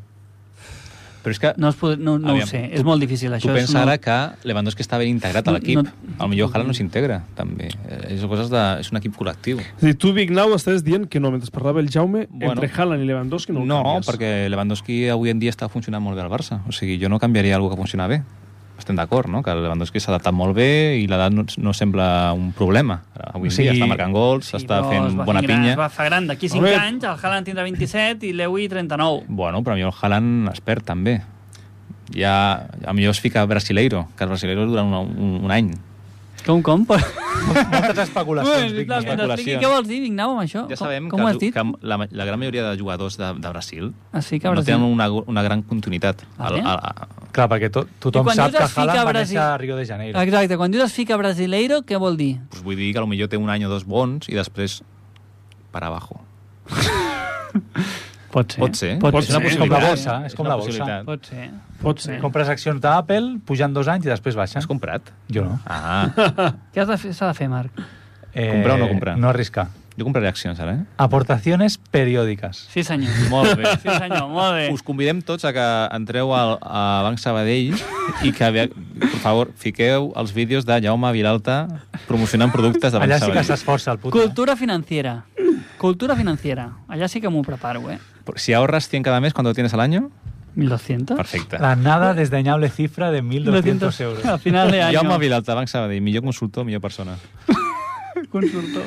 Speaker 4: Però és que
Speaker 3: No, es pot, no, no
Speaker 4: Aviam,
Speaker 3: ho sé,
Speaker 4: tu-
Speaker 3: és molt difícil.
Speaker 4: tu
Speaker 3: Això
Speaker 4: pensa
Speaker 3: és, no...
Speaker 4: ara que Lewandowski està ben integrat a
Speaker 3: No,
Speaker 4: l'equip.
Speaker 3: no-
Speaker 4: Al millor Haaland no s'integra, també. Eh, És, coses de, és un equip col·lectiu.
Speaker 1: És a dir, tu, Big Now, estàs dient que no, mentre parlava el Jaume,
Speaker 4: Bueno.
Speaker 1: entre Haaland i Lewandowski no el
Speaker 4: No,
Speaker 1: canvies.
Speaker 4: perquè Lewandowski avui en dia està funcionant molt bé al Barça. O sigui, jo no canviaria alguna que funciona bé. Estem d'acord, no? Que el Lewandowski s'ha adaptat molt bé i l'edat no, no sembla un problema. Avui
Speaker 2: O
Speaker 4: en dia
Speaker 2: sigui-
Speaker 4: està marcant gols,
Speaker 3: Sí,
Speaker 4: està
Speaker 3: però es
Speaker 4: fent
Speaker 3: va
Speaker 4: bona
Speaker 3: fer gran,
Speaker 4: pinya.
Speaker 3: Es va fer gran. D'aquí 5
Speaker 1: Home.
Speaker 3: anys el Haaland tindrà 27 i l'Ewi 39.
Speaker 4: Bueno, però a millor el Haaland es perd també. Ja, a millor es fica brasileiro, que els brasileiros duran un, un, un any.
Speaker 3: Com, com? Però...
Speaker 2: Moltes especulacions,
Speaker 3: Bueno,
Speaker 2: Vic.
Speaker 3: clar, mentre expliqui
Speaker 4: especulacions.
Speaker 3: què vols dir, Vignau, amb això?
Speaker 4: Ja sabem
Speaker 3: com, com
Speaker 4: que,
Speaker 3: ho
Speaker 4: els-
Speaker 3: has dit?
Speaker 4: que la, ma- la gran majoria de jugadors de, de Brasil
Speaker 3: Ah, sí, que
Speaker 4: no
Speaker 3: hauràs
Speaker 4: tenen
Speaker 3: dit.
Speaker 4: una, una gran continuïtat.
Speaker 3: Ah,
Speaker 4: Al-
Speaker 3: sí?
Speaker 4: al- a-
Speaker 2: clar perquè to,
Speaker 3: I
Speaker 2: tothom
Speaker 3: quan
Speaker 2: sap
Speaker 3: dius
Speaker 2: que
Speaker 3: es fica
Speaker 2: Haaland va
Speaker 3: Brasil-
Speaker 2: néixer a Rio de Janeiro.
Speaker 3: Exacte, quan dius es fica brasileiro, què vol dir?
Speaker 4: doncs vull dir que potser té un any o dos bons i després per abajo.
Speaker 3: Pot
Speaker 4: Pot ser.
Speaker 3: Pot,
Speaker 1: Pot
Speaker 3: ser.
Speaker 4: És
Speaker 1: ser.
Speaker 4: una
Speaker 2: com la
Speaker 4: possibilitat.
Speaker 2: bolsa, és com
Speaker 4: una
Speaker 2: la bolsa.
Speaker 4: possibilitat.
Speaker 3: Pot ser.
Speaker 1: Pot ser.
Speaker 2: Compres accions d'Apple, pujan dos anys i després baixen.
Speaker 4: Has comprat?
Speaker 2: Jo no.
Speaker 4: Ah,
Speaker 3: Què has de fer- s'ha de fer, Marc?
Speaker 2: Eh,
Speaker 4: Comprar o no comprar?
Speaker 2: No arriscar.
Speaker 4: jo compraré accions ara, eh?
Speaker 2: Aportaciones periòdiques.
Speaker 3: Sí, senyor.
Speaker 4: Molt bé.
Speaker 3: Sí, senyor, molt bé.
Speaker 4: Us convidem tots a que entreu al, a Banc Sabadell i que, ve- per favor, fiqueu els vídeos de Jaume Vilalta promocionant productes de Banc
Speaker 2: Allà sí que
Speaker 4: Sabadell.
Speaker 2: s'esforça el puto. eh?
Speaker 3: Cultura financiera. Cultura financiera. Allà sí que m'ho preparo, eh?
Speaker 4: Si ahorras 100 cada mes, ¿cuánto tienes al año?
Speaker 3: 1.200?
Speaker 4: Perfecte.
Speaker 2: La nada desdeñable cifra de 1.200 euros.
Speaker 3: A final de any.
Speaker 4: Jaume Vilalta, Banc Sabadell, millor consultor, millor persona.
Speaker 3: Consultor.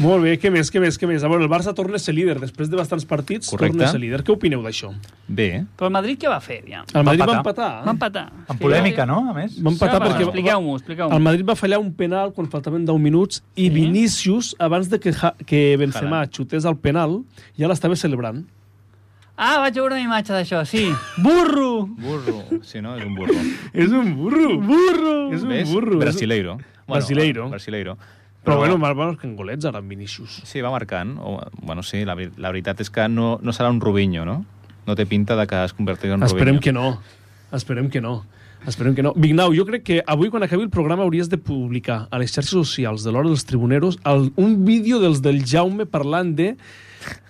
Speaker 1: Molt bé, què més, què més, què més? A veure, el Barça torna a ser líder. Després de bastants partits,
Speaker 4: Correcte.
Speaker 1: torna a ser líder. Què opineu d'això?
Speaker 4: Bé, eh?
Speaker 3: Però el Madrid què va fer, ja?
Speaker 1: El Madrid va empatar. eh?
Speaker 2: empatar.
Speaker 3: Va empatar.
Speaker 2: En polèmica, no? A més.
Speaker 1: Va empatar
Speaker 3: Sapa,
Speaker 1: perquè... va-
Speaker 3: expliqueu-m'ho, expliqueu-m'ho.
Speaker 1: El Madrid va fallar un penal quan faltaven 10 minuts i
Speaker 3: Sí.
Speaker 1: Vinícius, abans de que, ja, que Benzema
Speaker 4: Haaland.
Speaker 1: xutés el penal, ja l'estava celebrant.
Speaker 3: Ah, vaig veure una imatge d'això, sí. Burro!
Speaker 4: Burro. Sí, no? És un burro.
Speaker 1: És un burro! Burro! És un
Speaker 4: Ves?
Speaker 1: burro!
Speaker 4: Brasileiro.
Speaker 1: Brasileiro.
Speaker 4: Brasileiro.
Speaker 1: Però, bueno, mal van els cangolets ara amb Vinícius.
Speaker 4: Sí, va marcant. O, bueno, sí, la, veri- la veritat és que no, no serà un Rubinho, no? No té pinta de que es convertirà en
Speaker 1: Esperem
Speaker 4: Rubinho.
Speaker 1: que no. Esperem que no. Esperem que no. Vignau, jo crec que avui, quan acabi el programa, hauries de publicar a les xarxes socials de l'Hora dels Tribuneros el, un vídeo dels del Jaume parlant de...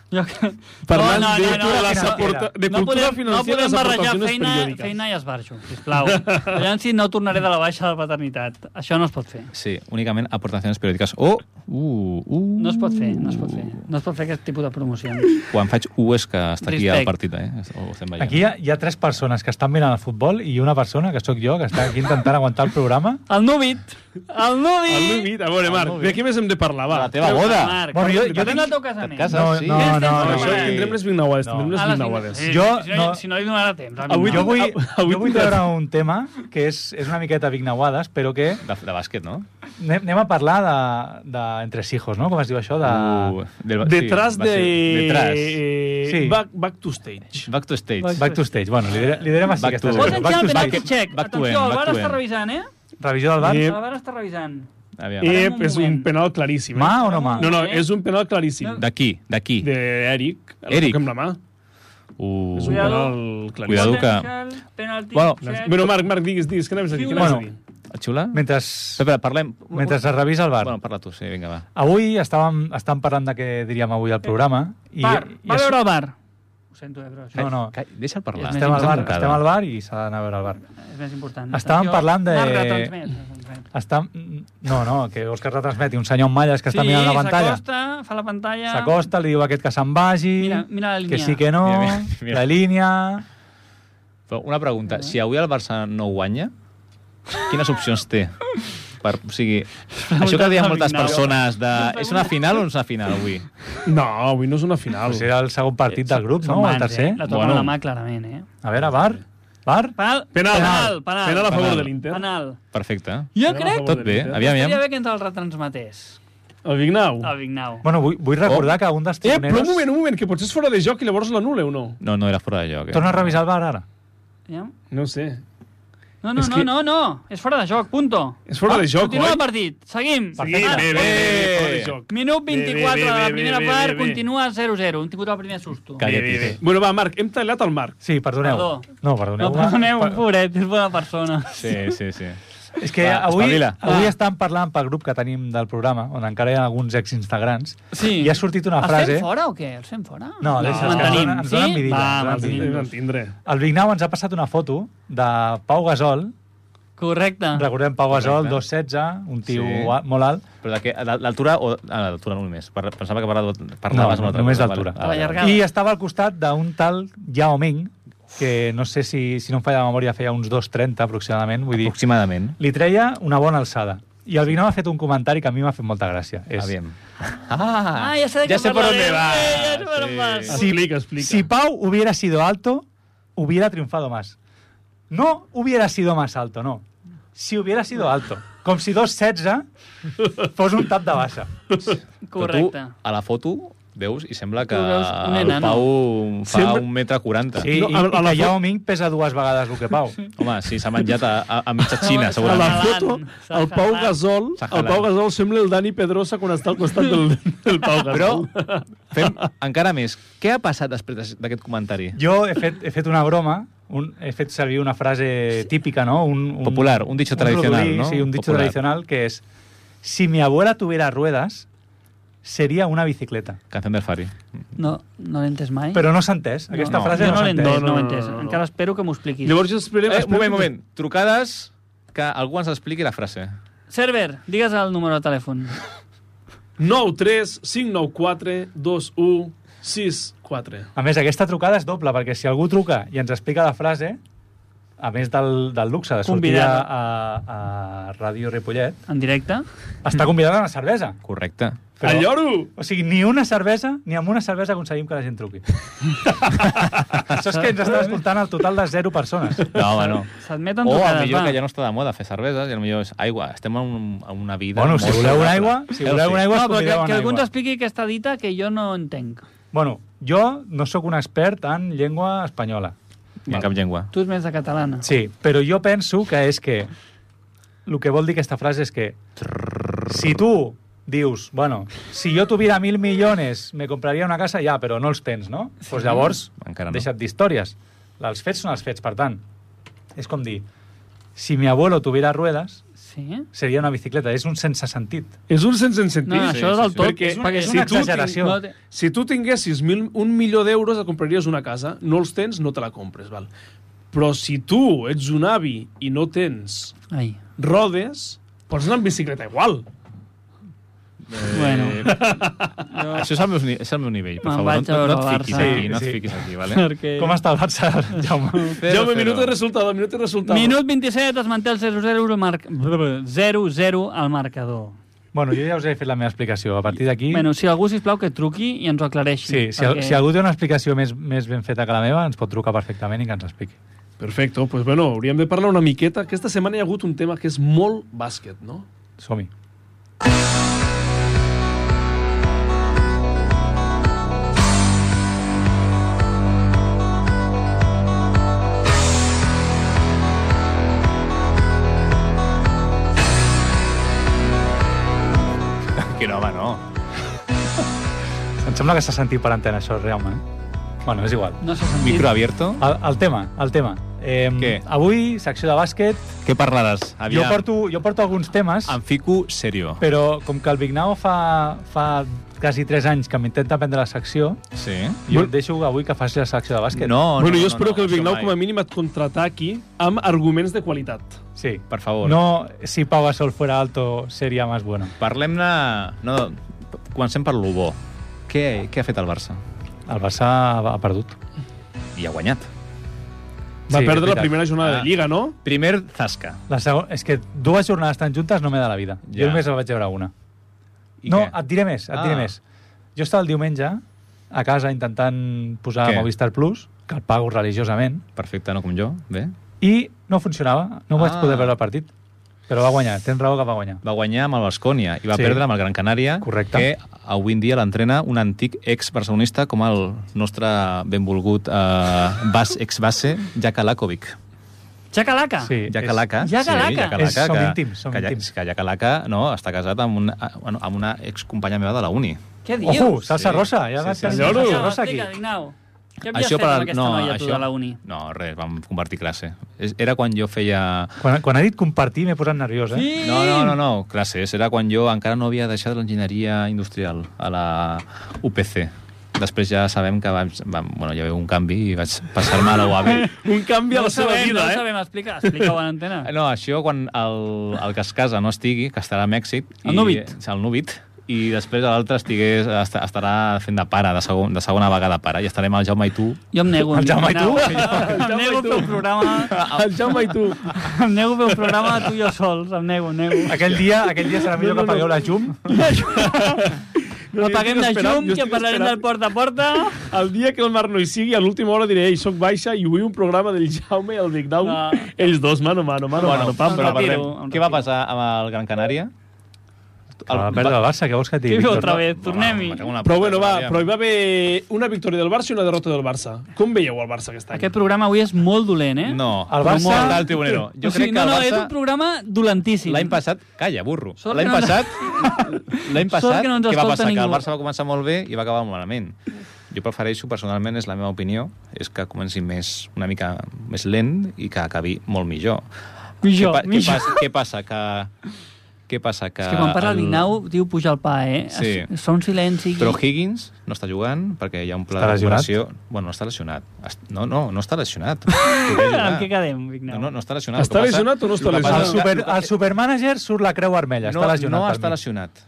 Speaker 3: Jo que-
Speaker 1: Parlant de
Speaker 2: no,
Speaker 1: les
Speaker 2: no,
Speaker 1: aporta- de
Speaker 3: no
Speaker 1: cultura
Speaker 3: podem, no
Speaker 1: financiera i
Speaker 3: podem
Speaker 1: les
Speaker 3: barrejar
Speaker 1: aportacions
Speaker 3: feina,
Speaker 1: periòdiques.
Speaker 3: feina i esbarjo, sisplau. Aviam si no tornaré de la baixa de la paternitat. Això no es pot fer.
Speaker 4: Sí, únicament aportacions periòdiques. O... Uh, uh,
Speaker 3: No es pot fer, no es pot fer. No es pot fer aquest tipus de promocions.
Speaker 4: Quan faig U és que està aquí
Speaker 3: Respect.
Speaker 4: al partit, eh? Ho estem veient.
Speaker 2: Aquí hi ha, hi ha tres persones que estan mirant el futbol i una persona, que sóc jo, que està aquí intentant aguantar el programa.
Speaker 3: El Nubit! El Nubit!
Speaker 1: El Nubit, a veure, Marc, de què més hem de parlar, va?
Speaker 4: A la teva boda.
Speaker 3: Marc,
Speaker 2: Bueno, jo- jo
Speaker 3: parlem
Speaker 2: tinc-
Speaker 3: del teu casament.
Speaker 4: Casa,
Speaker 2: No,
Speaker 4: sí.
Speaker 2: no,
Speaker 3: Què
Speaker 2: no,
Speaker 3: estem
Speaker 1: Però
Speaker 2: no.
Speaker 1: això
Speaker 3: sí.
Speaker 1: tindrem les vignauades,
Speaker 2: No.
Speaker 1: tindrem
Speaker 3: A
Speaker 1: les
Speaker 3: les
Speaker 1: vignauades.
Speaker 3: cinc.
Speaker 2: Jo
Speaker 3: Eh, si no,
Speaker 2: no-
Speaker 3: si no li donarà temps. la
Speaker 1: Avui
Speaker 3: Vignau.
Speaker 2: Jo vull,
Speaker 1: av- avui
Speaker 2: jo vull
Speaker 1: tindràs-
Speaker 2: treure un tema que és, és una miqueta vignauades, però que
Speaker 4: De, de bàsquet, no?
Speaker 2: anem anem a parlar de, de entresijos, no? Com es diu això? De...
Speaker 4: Uh, del,
Speaker 1: Detrás
Speaker 4: sí,
Speaker 1: de... eh,
Speaker 4: Detrás.
Speaker 2: Sí.
Speaker 1: Back, back to stage.
Speaker 4: Back to stage.
Speaker 2: Back to stage. Bueno, li, diré- li direm així
Speaker 4: Uh, Back
Speaker 2: aquesta
Speaker 4: to-
Speaker 3: Vols
Speaker 4: Back
Speaker 3: engegar el penalti
Speaker 4: back-
Speaker 3: check?
Speaker 4: back to
Speaker 3: Atenció, el
Speaker 4: end, back
Speaker 3: VAR
Speaker 4: to
Speaker 3: està
Speaker 4: end.
Speaker 3: revisant, eh?
Speaker 2: Revisió del bar.
Speaker 1: Eh,
Speaker 3: El VAR està revisant.
Speaker 4: Aviam.
Speaker 1: Eh,
Speaker 3: un
Speaker 1: és un
Speaker 3: moment.
Speaker 1: penal claríssim. eh?
Speaker 2: Mà o no mà?
Speaker 1: No, no, és un penal claríssim.
Speaker 4: D'aquí, d'aquí.
Speaker 1: D'Eric.
Speaker 4: Eric.
Speaker 1: Amb la mà.
Speaker 4: Uh,
Speaker 1: És un
Speaker 3: Cuidado.
Speaker 1: penal claríssim.
Speaker 4: Cuidado que-
Speaker 3: Penalti
Speaker 4: Bueno,
Speaker 3: check.
Speaker 1: Bueno, Marc, Marc, digues, digues, què anaves a dir? Què anaves a
Speaker 2: Bueno.
Speaker 1: dir?
Speaker 4: Xula?
Speaker 2: Mentre,
Speaker 4: Espera, parlem...
Speaker 2: mentre es revisa el bar.
Speaker 4: Bueno, parla tu, sí, vinga, va.
Speaker 2: Avui estàvem, estàvem parlant de què diríem avui al programa. I,
Speaker 3: VAR,
Speaker 2: i
Speaker 3: va
Speaker 2: és-
Speaker 3: veure el VAR. Ho sento, eh, però això
Speaker 2: No, no.
Speaker 4: Calla, Deixa'l parlar.
Speaker 2: Estem al
Speaker 4: Està
Speaker 2: bar,
Speaker 4: tancada.
Speaker 2: estem al bar i s'ha d'anar a veure el bar.
Speaker 3: és més important.
Speaker 2: Estàvem
Speaker 3: Atenció,
Speaker 2: parlant de-
Speaker 3: Marc, retransmet, retransmet.
Speaker 2: Està... No, no, que vols que retransmeti un senyor amb malles que està mirant la pantalla.
Speaker 3: s'acosta, fa la pantalla...
Speaker 2: S'acosta, li diu a aquest que se'n vagi,
Speaker 3: Mira, mira la línia.
Speaker 2: que sí que no,
Speaker 4: Mira, mira, mira.
Speaker 2: la línia...
Speaker 4: Però una pregunta, si avui el Barça no guanya, quines opcions té Per, o sigui, això que
Speaker 3: al
Speaker 4: deien moltes
Speaker 3: final.
Speaker 4: persones de... És una final o no és una final, avui?
Speaker 1: No, avui no és una final.
Speaker 2: Pues era el segon partit del grup, no? O el tercer?
Speaker 3: Eh? La toca
Speaker 4: Bueno.
Speaker 3: bueno. la mà, clarament, eh?
Speaker 2: A veure, VAR? VAR?
Speaker 3: Penal,
Speaker 1: Penal.
Speaker 3: penal, penal.
Speaker 1: Penal a favor
Speaker 4: Penal.
Speaker 1: de l'Inter.
Speaker 3: penal.
Speaker 4: Perfecte.
Speaker 3: Jo
Speaker 1: Penal a
Speaker 3: crec
Speaker 1: favor.
Speaker 4: Tot bé, aviam,
Speaker 3: que
Speaker 4: aviam.
Speaker 3: bé que ens el retransmetés.
Speaker 1: El Vignau.
Speaker 3: A Vignau.
Speaker 2: Bueno, vull, vull recordar que un dels
Speaker 1: Eh, però un
Speaker 2: tribuneros...
Speaker 1: moment, un moment, que potser és fora de joc i llavors l'anul·le o no?
Speaker 4: No, no era fora de joc. Eh?
Speaker 2: Torna a revisar el VAR ara.
Speaker 3: Aviam.
Speaker 1: No ho sé.
Speaker 3: No, no,
Speaker 1: És
Speaker 3: no,
Speaker 1: que-
Speaker 3: no, no. És fora de joc, punto.
Speaker 1: És fora de joc,
Speaker 3: Continua
Speaker 1: oi?
Speaker 3: el partit. Seguim.
Speaker 1: Seguim, bé, bé, bé,
Speaker 4: Eh!
Speaker 1: fora de joc.
Speaker 3: Minut 24 de
Speaker 1: Bé,
Speaker 3: la
Speaker 1: bé,
Speaker 3: primera
Speaker 1: bé, bé,
Speaker 3: part,
Speaker 1: bé, bé.
Speaker 3: continua 0-0. Hem tingut el primer susto.
Speaker 4: Calla,
Speaker 1: Bé, bé,
Speaker 4: tio.
Speaker 1: bé. Bueno, va, Marc, hem tallat el Marc.
Speaker 2: Sí, perdoneu.
Speaker 3: Perdó.
Speaker 2: No, perdoneu.
Speaker 3: No perdoneu,
Speaker 2: Va-
Speaker 3: pobret, és bona persona.
Speaker 4: Sí, sí, sí.
Speaker 2: És que
Speaker 4: Va,
Speaker 2: avui,
Speaker 4: espavila.
Speaker 2: avui
Speaker 3: Va.
Speaker 2: estan parlant pel grup que tenim del programa, on encara hi ha alguns ex-instagrans,
Speaker 3: Sí.
Speaker 2: i ha sortit una
Speaker 3: Els
Speaker 2: frase...
Speaker 3: fem fora o què? Els fem fora?
Speaker 2: No, deixa,
Speaker 1: ens
Speaker 3: mantenim.
Speaker 2: donen- ens donen
Speaker 3: sí?
Speaker 2: vidilla, ens
Speaker 4: Ah,
Speaker 2: donen
Speaker 3: Va,
Speaker 1: Ens
Speaker 2: vidilla.
Speaker 3: mantenim.
Speaker 1: vam tindre.
Speaker 2: El Vignau ens ha passat una foto de Pau Gasol,
Speaker 3: Correcte.
Speaker 2: recordem Pau Gasol,
Speaker 4: Correcte.
Speaker 2: 2'16, un tio
Speaker 4: Sí.
Speaker 2: a- molt alt,
Speaker 4: Però de què? De l'altura o... Ah, l'altura no només. Per- Pensava que parlava d'alt- parlaves
Speaker 2: No,
Speaker 4: amb una altra
Speaker 2: només
Speaker 4: cosa,
Speaker 2: d'altura.
Speaker 4: vale. Ah, vale,
Speaker 3: Allargar.
Speaker 4: vale.
Speaker 3: Claro.
Speaker 2: i estava al costat d'un tal Yao Ming, que no sé si, si no em falla la memòria feia uns 2'30 aproximadament, vull dir,
Speaker 4: Aproximadament.
Speaker 2: li treia una bona alçada. I el Vignau ha fet un comentari que a mi m'ha fet molta gràcia. És,
Speaker 4: Aviam. Ah,
Speaker 3: Ah, ja sé de
Speaker 4: ja
Speaker 3: què
Speaker 4: sé per on
Speaker 3: parlarem.
Speaker 4: va.
Speaker 3: Eh, ja sé per on vas.
Speaker 2: Si-
Speaker 1: Explica, explica.
Speaker 2: Si Pau hubiera sido alto, hubiera triunfado más. No hubiera sido más alto, no. Si hubiera sido alto. Com si 2'16 fos un tap de bassa.
Speaker 3: Correcte.
Speaker 4: Però tu, a la foto, veus, i sembla que
Speaker 3: Tu veus un
Speaker 4: el
Speaker 3: enano.
Speaker 4: Pau fa
Speaker 1: Sembla-
Speaker 4: un metre quaranta.
Speaker 2: Sí,
Speaker 1: No,
Speaker 2: i,
Speaker 1: a-
Speaker 2: i
Speaker 1: a la
Speaker 2: que
Speaker 1: fo-
Speaker 2: Yao Ming pesa dues vegades el que Pau.
Speaker 4: Home, sí, s'ha menjat a, a, a mitja xina,
Speaker 1: A la
Speaker 4: segurament.
Speaker 3: Jalan,
Speaker 1: foto, el Pau
Speaker 3: Jalan.
Speaker 1: Gasol, el
Speaker 4: Jalan.
Speaker 1: Pau Gasol sembla el Dani Pedrosa quan està al costat del, del Pau Gasol.
Speaker 4: Però fem encara més. Què ha passat després d'aquest comentari?
Speaker 2: Jo he fet, he fet una broma, un, he fet servir una frase típica, no? Un, un
Speaker 4: Popular, un dicho tradicional,
Speaker 2: rodolí,
Speaker 4: no?
Speaker 2: Sí, un dicho
Speaker 4: Popular.
Speaker 2: tradicional que és si mi abuela tuviera ruedas, sería una bicicleta.
Speaker 4: Canción del Fari.
Speaker 3: No, no l'he entès mai.
Speaker 2: Però no s'ha entès. Aquesta
Speaker 4: No,
Speaker 2: frase
Speaker 3: jo
Speaker 2: no,
Speaker 3: no
Speaker 2: s'ha
Speaker 3: l'he
Speaker 2: entès.
Speaker 1: No,
Speaker 3: entès, no,
Speaker 1: no,
Speaker 3: l'he
Speaker 1: no,
Speaker 3: entès.
Speaker 1: no, no.
Speaker 3: Encara espero que m'ho expliquis.
Speaker 1: Llavors esperem...
Speaker 4: Eh, un
Speaker 1: esperem
Speaker 4: moment,
Speaker 1: que-
Speaker 4: un moment. Trucades que algú ens expliqui la frase.
Speaker 3: Server, digues el número de telèfon.
Speaker 1: 9 3 5 9 4 2 1 6 4
Speaker 2: A més, aquesta trucada és doble, perquè si algú truca i ens explica la frase, a més del, del luxe de sortir a,
Speaker 3: Convidada.
Speaker 2: a, a Ràdio Ripollet,
Speaker 3: En directe?
Speaker 2: està convidada a una cervesa.
Speaker 4: Correcte.
Speaker 1: Però... El lloro!
Speaker 2: O sigui, ni una cervesa, ni amb una cervesa aconseguim que la gent truqui. Això és que ens està escoltant el total de zero persones.
Speaker 4: No, home, no.
Speaker 3: S'admeten
Speaker 2: Oh,
Speaker 4: O a
Speaker 3: trucades,
Speaker 4: millor
Speaker 3: va.
Speaker 4: que ja no està de moda fer cerveses i a millor és aigua. Estem en, un- en una vida...
Speaker 2: Bueno, si
Speaker 4: molt
Speaker 2: voleu una
Speaker 4: saludable.
Speaker 2: aigua, si voleu una aigua,
Speaker 3: No,
Speaker 2: us
Speaker 3: però que,
Speaker 2: convideu
Speaker 3: que
Speaker 2: una
Speaker 3: algú ens
Speaker 2: aigua.
Speaker 3: expliqui aquesta dita que jo no entenc.
Speaker 2: Bueno, jo no sóc un expert en llengua espanyola.
Speaker 4: Ni en cap llengua.
Speaker 3: Tu ets més de catalana.
Speaker 2: Sí, però jo penso que és que el que vol dir aquesta frase és que si tu dius, bueno, si jo tuviera mil milions me compraria una casa, ja, però no els tens, no? Doncs pues llavors,
Speaker 4: Encara no.
Speaker 2: deixa't d'històries. Els fets són els fets, per tant. És com dir, si mi abuelo tuviera ruedes,
Speaker 3: Sí?
Speaker 2: seria una bicicleta. És un sense sentit.
Speaker 1: És un sense sentit.
Speaker 3: No,
Speaker 4: sí,
Speaker 3: això
Speaker 4: sí,
Speaker 3: del
Speaker 4: sí.
Speaker 3: tot...
Speaker 1: Perquè és un-
Speaker 3: perquè
Speaker 1: és
Speaker 2: una
Speaker 3: tu tinc-
Speaker 2: exageració.
Speaker 3: no té-
Speaker 1: Si tu tinguessis mil, un milió d'euros, et compraries una casa. No els tens, no te la compres, val? Però si tu ets un avi i no tens
Speaker 3: Ai.
Speaker 1: rodes, pots anar en bicicleta igual.
Speaker 3: Eh, Bueno.
Speaker 4: Això és el meu, ni- és el meu nivell, per
Speaker 3: Me'n
Speaker 4: favor.
Speaker 3: vaig a
Speaker 4: No, no, no
Speaker 3: veure
Speaker 4: et
Speaker 3: el
Speaker 4: fiquis
Speaker 3: Barça.
Speaker 4: aquí, no
Speaker 2: Sí,
Speaker 4: et
Speaker 2: sí.
Speaker 4: fiquis aquí, vale?
Speaker 3: Perquè...
Speaker 2: Com està el Barça, Jaume?
Speaker 4: Cero,
Speaker 1: Jaume,
Speaker 4: cero.
Speaker 1: minut de resultado, minut de resultado.
Speaker 3: Minut 27, es manté el 0-0 al marc- 0-0 al marcador.
Speaker 2: Bueno, jo ja us he fet la meva explicació. A partir d'aquí...
Speaker 3: Bueno, si algú, sisplau, que truqui i ens ho aclareixi.
Speaker 2: Sí, si, perquè... si algú té una explicació més, més ben feta que la meva, ens pot trucar perfectament i que ens expliqui.
Speaker 1: Perfecte, doncs pues bueno, hauríem de parlar una miqueta. Aquesta setmana hi ha hagut un tema que és molt bàsquet, no?
Speaker 2: Som-hi.
Speaker 4: Que no, home, no.
Speaker 2: Em sembla que s'ha sentit per antena, això, realment. Bueno, és igual.
Speaker 3: No s'ha sentit.
Speaker 4: Micro abierto.
Speaker 2: El, el tema, el tema. Eh,
Speaker 4: Què?
Speaker 2: Avui, secció de bàsquet,
Speaker 4: Què parlaràs?
Speaker 2: jo
Speaker 4: Aviam.
Speaker 2: porto, jo porto alguns temes,
Speaker 4: Em fico serio.
Speaker 2: però com que el Vignau fa, fa quasi 3 anys que m'intenta prendre la secció,
Speaker 4: Sí.
Speaker 2: jo
Speaker 1: Bueno-
Speaker 2: et deixo avui que faci la secció de bàsquet.
Speaker 4: No, no,
Speaker 1: bueno,
Speaker 4: no,
Speaker 1: jo espero
Speaker 4: no,
Speaker 1: que el
Speaker 4: això
Speaker 1: Vignau
Speaker 4: mai.
Speaker 1: com a mínim et contraataqui amb arguments de qualitat.
Speaker 2: Sí.
Speaker 4: Per favor.
Speaker 2: No, si Pau Gasol fuera alto, seria més bueno.
Speaker 4: Parlem-ne... No, comencem per lo bo. Què, què ha fet el Barça?
Speaker 2: El Barça ha perdut.
Speaker 4: I ha guanyat.
Speaker 1: Va
Speaker 2: Sí, és
Speaker 1: perdre la
Speaker 2: veritat.
Speaker 1: primera jornada
Speaker 4: Ah.
Speaker 1: de Lliga, no?
Speaker 4: Primer, Zasca.
Speaker 2: La segon... És que dues jornades tan juntes no m'he de la vida.
Speaker 4: Ja.
Speaker 2: Jo només la vaig veure una.
Speaker 4: I
Speaker 2: no,
Speaker 4: què?
Speaker 2: et diré més, et diré
Speaker 4: Ah.
Speaker 2: més. Jo estava el diumenge a casa intentant posar
Speaker 4: Què?
Speaker 2: Movistar Plus, que el pago religiosament,
Speaker 4: Perfecte, no com jo. Bé.
Speaker 2: i no funcionava, no vaig
Speaker 4: Ah.
Speaker 2: poder veure el partit. Però va guanyar, tens raó que va guanyar.
Speaker 4: Va guanyar amb el Bascònia i va
Speaker 2: Sí.
Speaker 4: sí. perdre amb el Gran Canària,
Speaker 2: Correcte.
Speaker 4: que avui en dia l'entrena un antic ex-barcelonista com el nostre benvolgut eh, bas, ex-base, Jaka Lakovic.
Speaker 3: Xacalaca.
Speaker 2: Sí,
Speaker 4: Jack
Speaker 2: és-
Speaker 4: Calaca.
Speaker 3: Jack Alaca.
Speaker 2: És- som íntims, som
Speaker 4: que, Jack-
Speaker 2: íntims.
Speaker 4: Que Jack Alaca, no, està casat amb una, eh, bueno, amb una excompanya meva de la uni.
Speaker 3: Què dius?
Speaker 2: Ojo, salsa
Speaker 4: Sí.
Speaker 2: rosa, ja
Speaker 4: Sí,
Speaker 2: va
Speaker 4: sí,
Speaker 2: tenir
Speaker 4: sí.
Speaker 2: salsa
Speaker 1: Lloro.
Speaker 2: rosa aquí.
Speaker 3: Explica, Dignau. Què havies fet amb aquesta noia, tu, de la uni?
Speaker 4: No, res, vam compartir classe. És- Era quan jo feia...
Speaker 2: Quan, quan ha dit compartir m'he posat nerviós, eh?
Speaker 3: Sí.
Speaker 4: No, no, no, no, classes. Era quan jo encara no havia deixat l'enginyeria industrial a la UPC. Després ja sabem que vam, vam, bueno, ja hi va haver un canvi i vaig passar-me a la UAB.
Speaker 1: Un canvi a
Speaker 3: No ho
Speaker 1: la seva
Speaker 3: sabem, no
Speaker 1: vida,
Speaker 3: ho
Speaker 1: eh?
Speaker 3: sabem, explica, explica-ho a l'antena.
Speaker 4: No, això quan el, el que es casa no estigui, que estarà a Mèxic...
Speaker 3: El núvit.
Speaker 4: I, el núvit. I després l'altre estigués, est- estarà fent de pare, de, segon, de segona vegada pare, i estarem al Jaume i tu.
Speaker 3: Jo em nego.
Speaker 2: El
Speaker 3: em
Speaker 2: Jaume i tu?
Speaker 3: nego.
Speaker 1: El Jaume i
Speaker 3: Em nego a
Speaker 1: tu.
Speaker 3: fer un programa...
Speaker 1: El Jaume i tu.
Speaker 3: Em nego a fer un programa tu i jo sols. Em nego, em nego.
Speaker 2: Aquell dia, aquell dia serà millor
Speaker 1: No, no,
Speaker 2: que pagueu
Speaker 1: no.
Speaker 2: la llum.
Speaker 1: No,
Speaker 3: No paguem la llum, que parlarem del
Speaker 1: port.
Speaker 3: porta a porta.
Speaker 1: El dia que el Marc no hi sigui, a l'última hora diré, ei, soc baixa i vull un programa del Jaume i el Big Down.
Speaker 3: Ah.
Speaker 1: Ells dos, mano, mano, mano, mano, pam,
Speaker 3: em
Speaker 1: pam, pam.
Speaker 3: retiro, em
Speaker 4: Què va
Speaker 3: retiro.
Speaker 4: passar amb el Gran Canària?
Speaker 2: El, va perdre Ah, el Barça, què vols que et digui?
Speaker 3: Què diu
Speaker 2: Víctor?
Speaker 3: otra
Speaker 2: No?
Speaker 3: vez? Tornem-hi.
Speaker 1: Ah, Però bueno, va, però hi va haver una victòria del Barça i una derrota del Barça. Com veieu el Barça aquest any?
Speaker 3: Aquest programa avui és molt dolent, eh?
Speaker 4: No,
Speaker 2: El
Speaker 4: però
Speaker 2: Barça-
Speaker 4: molt alt tribunero. Jo
Speaker 3: o sigui,
Speaker 4: crec que
Speaker 3: no, no,
Speaker 4: el
Speaker 3: és
Speaker 4: Barça...
Speaker 3: un programa dolentíssim.
Speaker 4: L'any passat... Calla, burro.
Speaker 3: Sort
Speaker 4: L'any
Speaker 3: que no-
Speaker 4: passat... L'any
Speaker 3: Sort
Speaker 4: passat,
Speaker 3: que no ens
Speaker 4: què
Speaker 3: escolta
Speaker 4: va passar? Que el
Speaker 3: ningú.
Speaker 4: Barça va començar molt bé i va acabar malament. Jo prefereixo, personalment, és la meva opinió, és que comenci més, una mica més lent i que acabi molt millor.
Speaker 3: Millor,
Speaker 4: què, pa-
Speaker 3: millor.
Speaker 4: Què passa? Què passa? Que, què passa? Que,
Speaker 3: És que quan parla el...
Speaker 4: el
Speaker 3: l'Ignau, diu, puja el pa, eh?
Speaker 4: Sí.
Speaker 3: Es- Fa un silenci...
Speaker 4: Però Higgins no està jugant perquè hi ha un pla
Speaker 2: Està
Speaker 4: de
Speaker 2: lesionat?
Speaker 4: recuperació... Bueno, no està lesionat. Est- No, no, no està lesionat. Podria jugar.
Speaker 3: En què quedem, Vignau?
Speaker 4: No, no, no està lesionat.
Speaker 1: Està
Speaker 4: El que passa-
Speaker 1: lesionat o no està
Speaker 4: el que passa
Speaker 2: El,
Speaker 1: lesionat?
Speaker 4: és que-
Speaker 2: super, el supermanager surt la creu vermella,
Speaker 4: no,
Speaker 2: està lesionat.
Speaker 4: no
Speaker 2: al
Speaker 4: està
Speaker 2: mig.
Speaker 4: lesionat.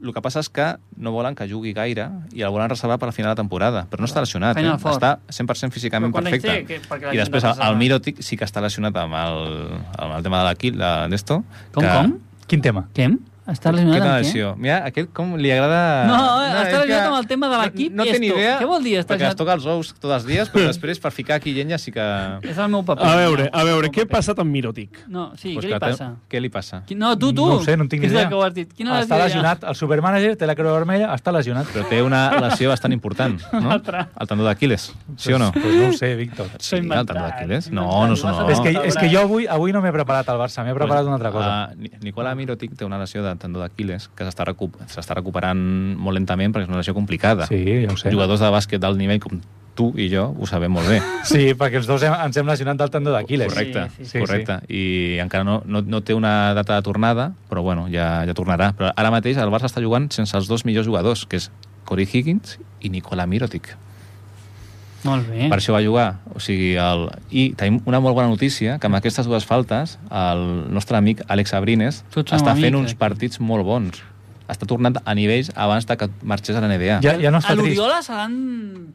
Speaker 4: El que passa és que no volen que jugui gaire i el volen reservar per la final de temporada, però no està lesionat. Eh?
Speaker 3: Final Four.
Speaker 4: Està 100% físicament
Speaker 3: Però quan
Speaker 4: perfecte.
Speaker 3: hi té, que- perquè la
Speaker 4: I
Speaker 3: gent
Speaker 4: després
Speaker 3: no
Speaker 4: el,
Speaker 3: passa
Speaker 4: el
Speaker 3: res.
Speaker 4: Mirotic sí que està lesionat amb el, amb el tema de l'Aquil, de- d'esto.
Speaker 3: Com,
Speaker 4: que,
Speaker 3: com?
Speaker 2: Quin tema?
Speaker 3: Què? Està
Speaker 4: Què
Speaker 3: lesionat
Speaker 4: tal
Speaker 3: amb què?
Speaker 4: lesió? Mira, aquest com li agrada...
Speaker 3: No, està
Speaker 4: és
Speaker 3: lesionat
Speaker 4: que
Speaker 3: amb el tema de l'equip
Speaker 4: No,
Speaker 3: i
Speaker 4: no té ni
Speaker 3: esto.
Speaker 4: idea.
Speaker 3: Què vol dir, està
Speaker 4: Perquè
Speaker 3: lesionat?
Speaker 4: es toca els ous tots els dies, però després per ficar aquí llenya sí que...
Speaker 3: És el meu paper.
Speaker 1: A veure, a veure,
Speaker 3: Vignau. El meu
Speaker 1: què ha
Speaker 3: paper.
Speaker 1: passat amb Mirotic?
Speaker 3: No, sí,
Speaker 4: Pues
Speaker 3: què
Speaker 4: que
Speaker 3: li
Speaker 4: té-
Speaker 3: passa?
Speaker 4: Què li passa?
Speaker 3: Qui- No, tu, tu.
Speaker 2: No ho sé, no en tinc ni
Speaker 3: Què és el
Speaker 2: idea.
Speaker 3: que ho has dit? Quina
Speaker 2: està lesionat, el supermanager té la creu vermella, està lesionat.
Speaker 4: Però té una lesió bastant important, no? El tendó d'Aquiles, sí o no?
Speaker 2: Pues, pues no ho sé, Víctor.
Speaker 4: Sí, el
Speaker 3: inventat,
Speaker 4: tendó d'Aquiles. No,
Speaker 3: inventat.
Speaker 4: no,
Speaker 3: Vas a-
Speaker 4: no. no.
Speaker 2: és, que, és que jo avui avui no m'he preparat al Barça, m'he preparat una altra cosa.
Speaker 4: Ah, Ni- Nicola Mirotic té una lesió de tendó d'Aquiles que s'està recu s'està recuperant molt lentament perquè és una lesió complicada.
Speaker 2: sí, ja ho sé.
Speaker 4: Jugadors de bàsquet d'alt nivell com tu i jo ho sabem molt bé.
Speaker 2: Sí, perquè els dos hem, ens hem lesionat del tendó d'Aquiles.
Speaker 4: Correcte,
Speaker 3: Sí,
Speaker 4: sí,
Speaker 2: sí, sí.
Speaker 4: sí, correcte. I encara no, no, no té una data de tornada, però bueno, ja, ja tornarà. Però ara mateix el Barça està jugant sense els dos millors jugadors, que és Corey Higgins i Nicola Mirotic.
Speaker 3: Molt bé.
Speaker 4: Per això va jugar. O sigui, el... I tenim una molt bona notícia, que amb aquestes dues faltes, el nostre amic Àlex Abrines
Speaker 3: Tu ets
Speaker 4: està
Speaker 3: un
Speaker 4: fent
Speaker 3: amic,
Speaker 4: uns
Speaker 3: eh?
Speaker 4: partits molt bons. Està tornant a nivells abans de que marxés a la NBA.
Speaker 2: Ja, ja no
Speaker 3: a
Speaker 2: està trist.
Speaker 3: l'Oriola se l'han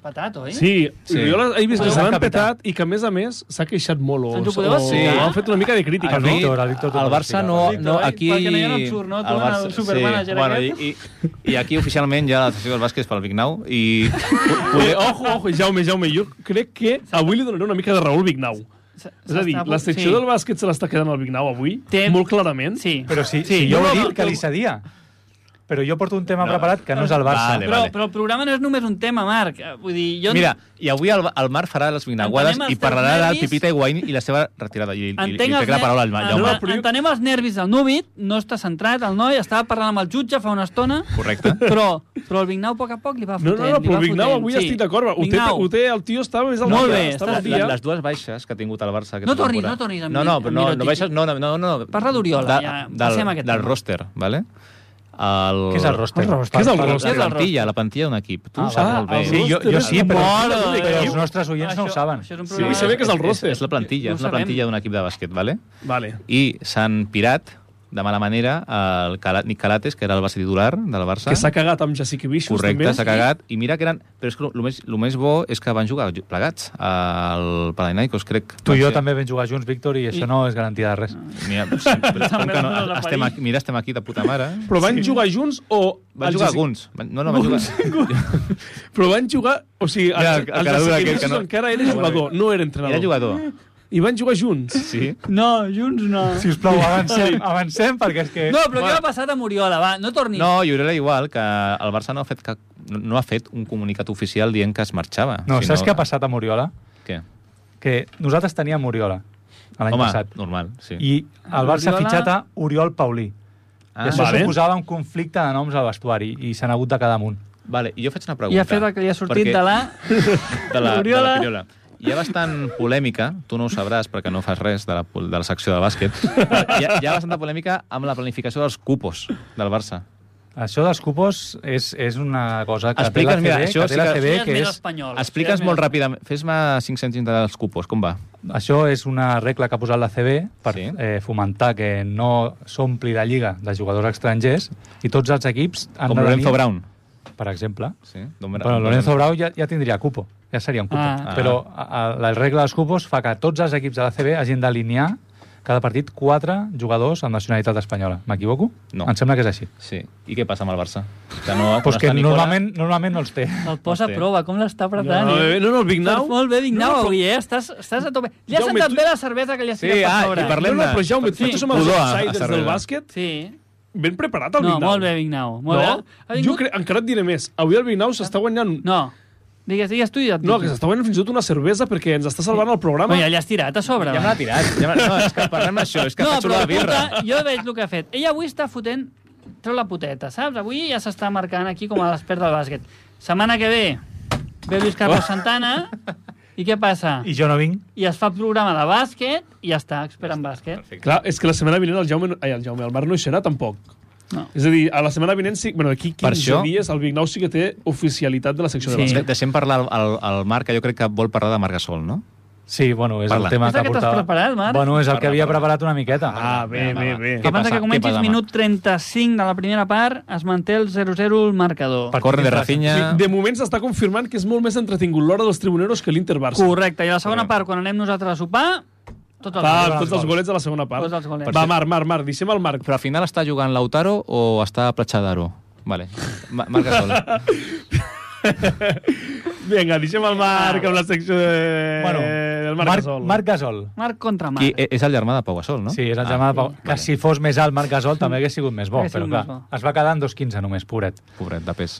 Speaker 3: patat, oi?
Speaker 1: Sí, sí.
Speaker 4: Sí.
Speaker 1: jo la- he vist que
Speaker 2: Ah,
Speaker 1: se l'han
Speaker 2: capità.
Speaker 1: petat i que, a més a més, s'ha queixat molt. O,
Speaker 3: Ens ho podeu
Speaker 1: o,
Speaker 3: explicar?
Speaker 1: o han fet una mica de crítica,
Speaker 3: Ah,
Speaker 4: Aquí,
Speaker 1: no?
Speaker 2: Víctor, el Víctor
Speaker 4: el Barça no...
Speaker 3: Víctor,
Speaker 4: no
Speaker 3: eh?
Speaker 4: aquí,
Speaker 3: Perquè no hi ha un absurd, no? Tu en el supermanager
Speaker 4: Bueno,
Speaker 3: aquest.
Speaker 4: i, i, I aquí oficialment ja la sessió del bàsquet és pel Vignau i...
Speaker 1: Eh, ojo, ojo, Jaume, Jaume, jo crec que avui li donaré una mica de Raül Vignau.
Speaker 3: S-
Speaker 1: És a dir,
Speaker 3: s'està-
Speaker 1: la secció
Speaker 3: sí.
Speaker 1: del bàsquet se l'està quedant al Vignau avui,
Speaker 3: Té-
Speaker 1: molt clarament.
Speaker 3: Sí.
Speaker 2: Però sí, sí, jo
Speaker 1: No,
Speaker 2: he
Speaker 1: no,
Speaker 2: dit que
Speaker 1: no.
Speaker 2: li cedia. Però jo porto un tema preparat que no és el Barça.
Speaker 4: Vale,
Speaker 3: però,
Speaker 4: vale.
Speaker 3: però el programa no és només un tema, Marc. Eh, Vull dir, jo...
Speaker 4: Mira, i avui el, el Marc farà les vinaguades
Speaker 3: Entenem els
Speaker 4: i parlarà
Speaker 3: teus
Speaker 4: del
Speaker 3: nervis.
Speaker 4: Pipita Higuaín i la seva retirada. I, i, i, i
Speaker 3: Entenc,
Speaker 4: crec
Speaker 3: els
Speaker 4: la paraula al
Speaker 3: ner-
Speaker 4: Jaume.
Speaker 1: No, però jo-
Speaker 3: entenem els nervis del Núbit, no està centrat el noi, estava parlant amb el jutge fa una estona,
Speaker 4: Correcte.
Speaker 3: però, però el Vignau a poc a poc li va
Speaker 1: No, no,
Speaker 3: fotent.
Speaker 1: no,
Speaker 3: li
Speaker 1: però
Speaker 3: va
Speaker 1: Vignau
Speaker 3: fotent,
Speaker 1: avui
Speaker 3: sí.
Speaker 1: estic d'acord. Ho, té,
Speaker 3: Vignau,
Speaker 1: ho té, el tio estava més al
Speaker 3: Molt
Speaker 1: dia,
Speaker 3: bé,
Speaker 1: estava
Speaker 3: estàs
Speaker 1: al
Speaker 4: La-
Speaker 1: dia.
Speaker 4: les dues baixes que ha tingut el Barça aquesta
Speaker 3: No tornis, no
Speaker 4: temporada.
Speaker 3: tornis amb
Speaker 4: No, no,
Speaker 3: mi-
Speaker 4: però
Speaker 3: amb
Speaker 4: no, no
Speaker 3: Mirotic.
Speaker 4: baixes, no, no, no, no.
Speaker 3: Parla d'Oriola,
Speaker 4: De-
Speaker 3: ja, passem a
Speaker 4: del,
Speaker 3: aquest
Speaker 4: del
Speaker 3: tema.
Speaker 4: roster, vale? El...
Speaker 2: Què és el roster?
Speaker 3: El roster.
Speaker 1: Què és el
Speaker 2: Parla-
Speaker 1: roster?
Speaker 4: La
Speaker 3: Què és el
Speaker 4: plantilla, la plantilla d'un equip. Tu
Speaker 2: Ah,
Speaker 4: ho saps
Speaker 2: vale.
Speaker 4: molt bé.
Speaker 1: el
Speaker 2: Sí, jo, jo
Speaker 1: roster
Speaker 2: sí,
Speaker 1: és
Speaker 2: però,
Speaker 1: mort, eh?
Speaker 2: però els nostres oients no ho
Speaker 3: Això-
Speaker 2: saben.
Speaker 3: Això és un
Speaker 1: Sí,
Speaker 3: programa...
Speaker 1: saber què és el roster.
Speaker 4: És, és la plantilla,
Speaker 3: Ho
Speaker 4: és una
Speaker 3: sabem.
Speaker 4: plantilla d'un equip de bàsquet, vale?
Speaker 1: Vale.
Speaker 4: I s'han pirat de mala manera el Cala- Nick Calates, que era el base titular del Barça.
Speaker 1: Que s'ha cagat amb Jessica Vicious,
Speaker 4: Correcte,
Speaker 1: també.
Speaker 4: s'ha cagat. I mira que eren... Però és que el més, lo més bo és que van jugar plegats al Panathinaikos, crec. Doncs
Speaker 2: Tu
Speaker 4: Van
Speaker 2: i jo
Speaker 4: ser-
Speaker 2: també vam jugar junts, Víctor, i això no és garantia de res.
Speaker 3: Ah.
Speaker 4: Mira, sí, però com que no,
Speaker 1: També la
Speaker 4: estem aquí, mira, estem aquí de puta mare.
Speaker 1: Però van jugar junts o...
Speaker 4: Van
Speaker 1: el
Speaker 4: jugar
Speaker 1: Jessica-
Speaker 4: alguns. Van- No, no, van jugar...
Speaker 1: Però van jugar... O sigui, el,
Speaker 4: Mira,
Speaker 1: el,
Speaker 4: el
Speaker 1: Jessica
Speaker 4: caradura aquest que
Speaker 1: Vicious
Speaker 4: no-
Speaker 1: encara era jugador, no era entrenador.
Speaker 4: Era jugador.
Speaker 1: I van jugar junts.
Speaker 4: Sí.
Speaker 3: No, junts no.
Speaker 2: Si us plau, avancem, avancem, perquè és que...
Speaker 3: No, però què va passar a Moriola, va? No tornis.
Speaker 4: No, i era igual, que el Barça no ha fet, cap, no ha fet un comunicat oficial dient que es marxava.
Speaker 2: no
Speaker 4: Si
Speaker 2: saps què ha passat a Moriola?
Speaker 4: Què?
Speaker 2: Que nosaltres teníem Oriola l'any
Speaker 4: Home,
Speaker 2: passat.
Speaker 4: normal, sí.
Speaker 2: I el Barça ha
Speaker 3: Oriola-
Speaker 2: fitxat a Oriol Paulí.
Speaker 4: Ah,
Speaker 2: I això
Speaker 1: Vale.
Speaker 2: suposava un conflicte de noms al vestuari i s'han hagut de quedar amunt.
Speaker 4: Vale, i jo faig una pregunta.
Speaker 3: I ha fet que li ha sortit de la...
Speaker 4: de la, de
Speaker 3: Oriola.
Speaker 4: la Piriola. Hi ha bastant polèmica, tu no ho sabràs perquè no fas res de la, pol- de la secció de bàsquet, hi ha, hi ha bastanta polèmica amb la planificació dels cupos del Barça.
Speaker 2: Això dels cupos és, és una cosa que té la
Speaker 4: Explica'ns,
Speaker 2: CB,
Speaker 4: mira, això
Speaker 2: que té
Speaker 4: sí
Speaker 2: la
Speaker 4: que-
Speaker 2: CB,
Speaker 3: Sí, és
Speaker 2: que
Speaker 3: més
Speaker 2: és,
Speaker 3: espanyol.
Speaker 4: Explica'ns molt ràpidament, fes-me 5 cèntims dels cupos, com va?
Speaker 2: això és una regla que ha posat la CB per
Speaker 4: Sí.
Speaker 2: eh, fomentar que no s'ompli la lliga de jugadors estrangers i tots els equips han
Speaker 4: Com
Speaker 2: de
Speaker 4: Lorenzo
Speaker 2: tenir,
Speaker 4: Brown.
Speaker 2: per exemple,
Speaker 4: Sí, Don Bra-
Speaker 2: Bueno, Lorenzo Brau ja, ja tindria cupo, ja seria un cupo.
Speaker 3: Ah.
Speaker 2: Ah. Però a, a, la regla dels cupos fa que tots els equips de la CB hagin d'alinear cada partit quatre jugadors amb nacionalitat espanyola. M'equivoco?
Speaker 4: No.
Speaker 2: Em sembla que és així.
Speaker 4: Sí. I què passa amb el Barça? Que no,
Speaker 2: Pues que
Speaker 4: està Nicola-
Speaker 2: normalment, normalment no els té.
Speaker 3: El posa a
Speaker 4: Hosti.
Speaker 3: prova, com l'està apretant,
Speaker 1: No,
Speaker 3: eh?
Speaker 1: no, no, el Big
Speaker 3: Estàs
Speaker 1: Now...
Speaker 3: Molt bé, Vignau, no, avui, eh? Estàs, estàs a tope. Li ha
Speaker 1: Jaume,
Speaker 3: sentat
Speaker 1: tu-
Speaker 3: bé la cervesa que li has
Speaker 4: Sí,
Speaker 3: tirat per
Speaker 4: ah, i
Speaker 3: sobre.
Speaker 4: parlem-
Speaker 1: No, no, però Jaume,
Speaker 3: Sí.
Speaker 1: sí. tu som els
Speaker 4: Rodó a- a
Speaker 1: outsiders del
Speaker 4: Cervera.
Speaker 1: bàsquet.
Speaker 3: Sí.
Speaker 1: Ben preparat, el
Speaker 3: No,
Speaker 1: Vignau.
Speaker 3: molt bé, Vignau. Molt
Speaker 1: no,
Speaker 3: bé. Ha
Speaker 1: jo
Speaker 3: vingut...
Speaker 1: crec, encara et diré més. Avui el Vignau s'està guanyant... No,
Speaker 3: No. Digues, digues tu i et
Speaker 1: no
Speaker 3: dic.
Speaker 1: que s'està guanyant fins i tot una cervesa perquè ens està salvant el programa.
Speaker 3: Bueno, ja li has tirat a sobre.
Speaker 4: Ja me
Speaker 3: va.
Speaker 4: l'ha tirat. Ja me... No, és que parlem d'això, és que
Speaker 3: no,
Speaker 4: faig
Speaker 3: però
Speaker 4: olor
Speaker 3: la
Speaker 4: de birra.
Speaker 3: puta, jo veig el que ha fet. Ella avui està fotent... Treu la puteta, saps? Avui ja s'està marcant aquí com a l'expert del bàsquet. Setmana que ve, ve Luis Carlos Santana, i què passa?
Speaker 2: I jo no vinc.
Speaker 3: I es fa programa de bàsquet, i ja està, expert en bàsquet.
Speaker 1: Clar, és que la setmana vinent el Jaume... no- Ai, el Jaume, el Marc no hi serà tampoc.
Speaker 3: No.
Speaker 1: És a dir, a la setmana vinent, sí, bueno, d'aquí 15
Speaker 4: Per això-
Speaker 1: dies, el Vignau sí que té oficialitat de la secció
Speaker 3: Sí.
Speaker 1: de bàsquet.
Speaker 4: De- Deixem parlar al- al, al Marc, que jo crec que vol parlar de Marc Gasol, no?
Speaker 2: Sí, bueno, és
Speaker 4: Parla.
Speaker 2: el tema
Speaker 3: És el
Speaker 2: que
Speaker 3: que t'has
Speaker 2: portava.
Speaker 3: preparat, Marc?
Speaker 2: Bueno, és el que
Speaker 4: Parla,
Speaker 2: havia
Speaker 4: parla.
Speaker 2: preparat una miqueta.
Speaker 1: Ah, bé,
Speaker 4: Va, va,
Speaker 1: bé,
Speaker 4: va.
Speaker 1: bé.
Speaker 4: Què
Speaker 3: Abans de
Speaker 4: passa?
Speaker 3: que
Speaker 4: Què
Speaker 3: comencis,
Speaker 4: passa, Marc?
Speaker 3: minut 35 de la primera part, es manté el 0-0 el marcador.
Speaker 2: Per-
Speaker 4: Corre de Rafinha...
Speaker 1: Sí, de moment s'està confirmant que és molt més entretingut l'hora dels tribuneros que l'Inter-Barça.
Speaker 3: Correcte, i a la segona part, quan anem nosaltres a sopar, tot el
Speaker 1: Va,
Speaker 3: marcador.
Speaker 1: tots els golets de la segona part.
Speaker 3: Tots els golets.
Speaker 1: Va, Marc, Marc, Marc, deixem el Marc.
Speaker 4: Però al final està jugant Lautaro o està Platxadaro? Vale. Ma- Marc Gasol.
Speaker 1: Vinga, deixem el Marc amb la secció de...
Speaker 2: Bueno,
Speaker 1: del Eh, Marc,
Speaker 2: Marc,
Speaker 1: Gasol.
Speaker 2: Marc Gasol.
Speaker 3: Marc contra Marc.
Speaker 4: Qui, e- és el germà de Pau Gasol, no? Ah,
Speaker 2: Sí, és el germà de Pau. Que si fos més alt Marc Gasol també hagués sigut més bo,
Speaker 3: Hagués
Speaker 2: però
Speaker 3: sigut
Speaker 2: clar,
Speaker 3: més bo.
Speaker 2: es va quedar en 2.15 només, pobret.
Speaker 4: Pobret, de pes.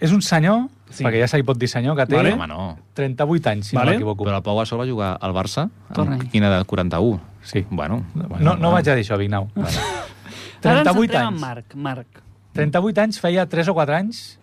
Speaker 2: És un senyor,
Speaker 1: Sí.
Speaker 2: perquè ja se li pot dir senyor, que té
Speaker 1: Vale.
Speaker 4: Home, no.
Speaker 2: 38 anys, si
Speaker 1: Vale.
Speaker 2: no m'equivoco.
Speaker 4: Però el Pau Gasol va jugar al Barça
Speaker 3: Torna-hi.
Speaker 4: amb quina edat? 41?
Speaker 2: Sí.
Speaker 4: Bueno,
Speaker 2: No, no vaig a dir això, Vignau.
Speaker 3: Ara ens
Speaker 2: 38
Speaker 3: centrem en
Speaker 2: anys.
Speaker 3: Marc, Marc.
Speaker 2: 38 anys feia 3 o 4 anys...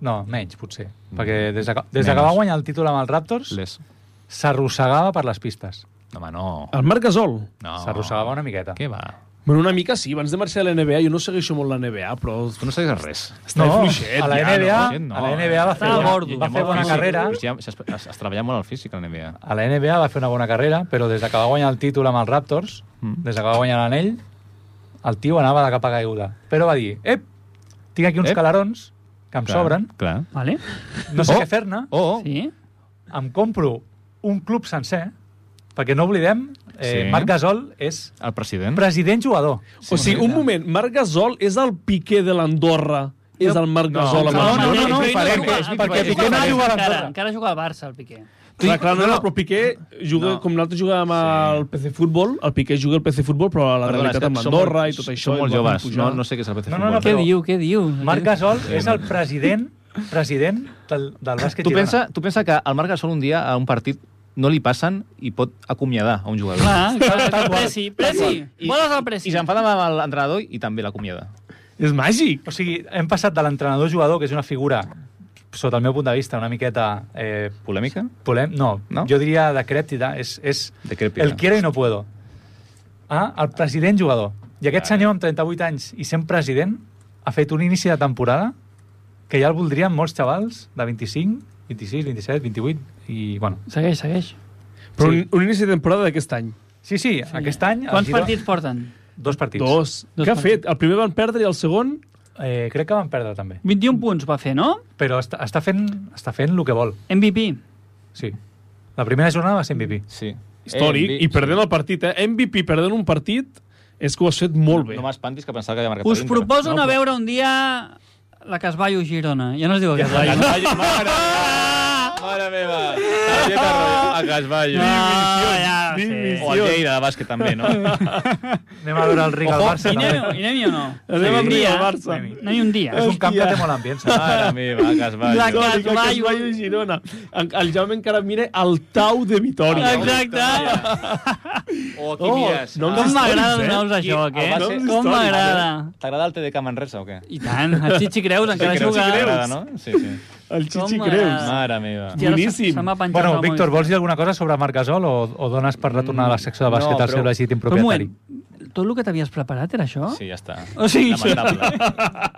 Speaker 2: No, menys, potser. Perquè des de, que- des de que
Speaker 4: Mm. Menys.
Speaker 2: va guanyar el títol amb els Raptors,
Speaker 4: Les.
Speaker 2: s'arrossegava per les pistes.
Speaker 4: Home, no.
Speaker 1: El Marc Gasol.
Speaker 4: no.
Speaker 2: S'arrossegava una miqueta.
Speaker 4: Què va?
Speaker 1: Bueno, una mica sí, abans de marxar a la NBA, jo no segueixo molt la NBA, però...
Speaker 4: Tu no segueixes res.
Speaker 1: Està fluixet,
Speaker 2: a la
Speaker 1: ja,
Speaker 2: NBA,
Speaker 1: no?
Speaker 4: gent, no.
Speaker 2: a la NBA va fer,
Speaker 3: Estava
Speaker 2: va,
Speaker 3: gordo.
Speaker 2: va fer bona
Speaker 4: Físic.
Speaker 2: carrera.
Speaker 4: Pues Ja, has, has, has treballat molt el físic a la NBA.
Speaker 2: A la NBA va fer una bona carrera, però des de que va guanyar el títol amb els Raptors,
Speaker 4: Mm.
Speaker 2: des de que va guanyar l'anell, el tio anava de capa caiguda. Però va dir, ep, tinc aquí uns
Speaker 4: Ep.
Speaker 2: calarons que em
Speaker 4: Clar,
Speaker 2: sobren,
Speaker 4: Clar.
Speaker 3: Vale?
Speaker 2: no sé
Speaker 4: Oh.
Speaker 2: què fer-ne,
Speaker 4: O, sí.
Speaker 3: Sí?
Speaker 2: em compro un club sencer, perquè no oblidem, eh,
Speaker 4: Sí.
Speaker 2: sí. Marc Gasol és
Speaker 4: el president.
Speaker 2: president-jugador.
Speaker 1: O sigui, un moment, Marc Gasol és el Piqué de l'Andorra. És el Marc Gasol.
Speaker 4: no,
Speaker 1: amb el
Speaker 4: no,
Speaker 1: Girona.
Speaker 4: no, no,
Speaker 3: Piqué
Speaker 4: diferent,
Speaker 3: juga-
Speaker 4: és diferent.
Speaker 3: eh, perquè Piqué no
Speaker 2: Diferent.
Speaker 3: juga a l'Andorra.
Speaker 2: Encara-
Speaker 3: Encara juga al Barça, el Piqué.
Speaker 1: Clar, clar, no,
Speaker 4: No,
Speaker 1: no,
Speaker 4: no.
Speaker 1: però Piqué juga,
Speaker 4: No.
Speaker 1: com nosaltres jugàvem al PC Futbol, el Piqué juga al PC Futbol, però a la
Speaker 4: Perdona, és
Speaker 1: realitat
Speaker 4: que
Speaker 1: amb
Speaker 4: som
Speaker 1: Andorra
Speaker 4: molt-
Speaker 1: i tot això...
Speaker 4: Som molt
Speaker 1: el van
Speaker 4: joves, no,
Speaker 1: pujar.
Speaker 4: no sé què és el PT
Speaker 2: No, no,
Speaker 4: futbol.
Speaker 2: no,
Speaker 3: Què
Speaker 2: però-
Speaker 3: diu, què diu?
Speaker 2: Marc Gasol és el president president del, del bàsquet
Speaker 4: Tu
Speaker 2: Girona.
Speaker 4: pensa, tu pensa que al Marc Gasol un dia a un partit no li passen i pot acomiadar a un jugador.
Speaker 3: Clar, clar,
Speaker 2: Tal
Speaker 3: clar,
Speaker 2: qual.
Speaker 3: Presi, Presi, voles el Presi.
Speaker 4: I s'enfada amb l'entrenador i també l'acomiada.
Speaker 1: És màgic.
Speaker 2: O sigui, hem passat de l'entrenador-jugador, que és una figura, sota el meu punt de vista, una miqueta... Eh,
Speaker 4: Polèmica?
Speaker 2: polem... no,
Speaker 4: No?
Speaker 2: no, jo diria decrèptida. És, és
Speaker 4: Decrèpita.
Speaker 2: el quiero i no puedo. Ah, el president-jugador. I aquest senyor amb 38 anys i sent president ha fet un inici de temporada que ja el voldrien molts xavals de 25, 26, 27, 28 i, bueno...
Speaker 3: Segueix, segueix.
Speaker 1: Però
Speaker 2: Sí.
Speaker 1: un, un inici de temporada d'aquest any.
Speaker 2: Sí, sí, aquest any... el
Speaker 3: Quants
Speaker 2: Girona-
Speaker 3: partits porten?
Speaker 2: Dos partits.
Speaker 1: Dos.
Speaker 3: Dos
Speaker 1: Què ha
Speaker 3: partits.
Speaker 1: fet? El primer van perdre i el segon...
Speaker 2: Eh, crec que van perdre també.
Speaker 3: 21 punts va fer, no?
Speaker 2: Però està, està, fent, està fent el que vol,
Speaker 3: MVP.
Speaker 2: sí. La primera jornada va ser MVP.
Speaker 4: Sí.
Speaker 1: històric,
Speaker 4: Eh,
Speaker 1: i perdent el partit, eh? MVP perdent un partit és que ho has fet molt bé.
Speaker 4: No m'espantis que pensava que havia marcat
Speaker 3: Us
Speaker 4: l'Inter.
Speaker 3: proposo anar
Speaker 4: no,
Speaker 3: a veure un dia la Casballo Girona. Ja no es diu el Casballo.
Speaker 4: Casballo, mare, mare meva. Xavier Carreu, a Casballo.
Speaker 3: No, ja,
Speaker 1: Vint
Speaker 3: Ah, sí.
Speaker 4: O al Lleida, de bàsquet, també, no?
Speaker 2: Anem a veure el Riga al
Speaker 4: Ojo,
Speaker 2: Barça.
Speaker 3: I anem,
Speaker 2: també.
Speaker 3: i anem-hi o no?
Speaker 1: Anem
Speaker 3: un
Speaker 1: amb
Speaker 3: dia.
Speaker 1: Rio al Barça.
Speaker 2: Anem-hi.
Speaker 3: Anem-hi un dia.
Speaker 2: És un camp que
Speaker 1: Hòstia.
Speaker 2: té molt ambient.
Speaker 4: Mare meva, a
Speaker 3: La
Speaker 4: Casballo.
Speaker 3: Cas-
Speaker 1: Històric, aquest
Speaker 3: Casballo.
Speaker 1: Casballo i Girona. En- El Jaume encara mira el tau de Vitòria.
Speaker 3: Exacte.
Speaker 4: O aquí
Speaker 1: Oh,
Speaker 4: mires.
Speaker 1: no
Speaker 4: Ah,
Speaker 3: Com m'agrada
Speaker 1: històrics, eh?
Speaker 3: donar-vos
Speaker 4: I
Speaker 3: això,
Speaker 4: el
Speaker 3: aquest.
Speaker 4: Barça-
Speaker 3: Com
Speaker 1: històrics.
Speaker 3: m'agrada.
Speaker 4: T'agrada el TDK Manresa o què?
Speaker 3: I tant, el Chichi Creus encara
Speaker 4: Sí, creu- sí,
Speaker 3: juga.
Speaker 4: t'agrada, no? Sí, sí.
Speaker 1: El Chichi
Speaker 3: Com
Speaker 1: Creus.
Speaker 3: m'agrada.
Speaker 4: Mare meva.
Speaker 3: I ara se-
Speaker 1: Boníssim.
Speaker 3: Se m'ha penjat
Speaker 2: Bueno,
Speaker 3: el
Speaker 2: Víctor,
Speaker 3: mòbil.
Speaker 2: vols dir alguna cosa sobre Marc Gasol o, o dones per retornar a la secció de
Speaker 4: No,
Speaker 2: bàsquet al
Speaker 4: però-
Speaker 2: seu legítim
Speaker 3: Però un
Speaker 2: propietari?
Speaker 3: moment, tot el que t'havies preparat era això?
Speaker 4: Sí, ja està.
Speaker 3: O sigui,
Speaker 4: Lamentable.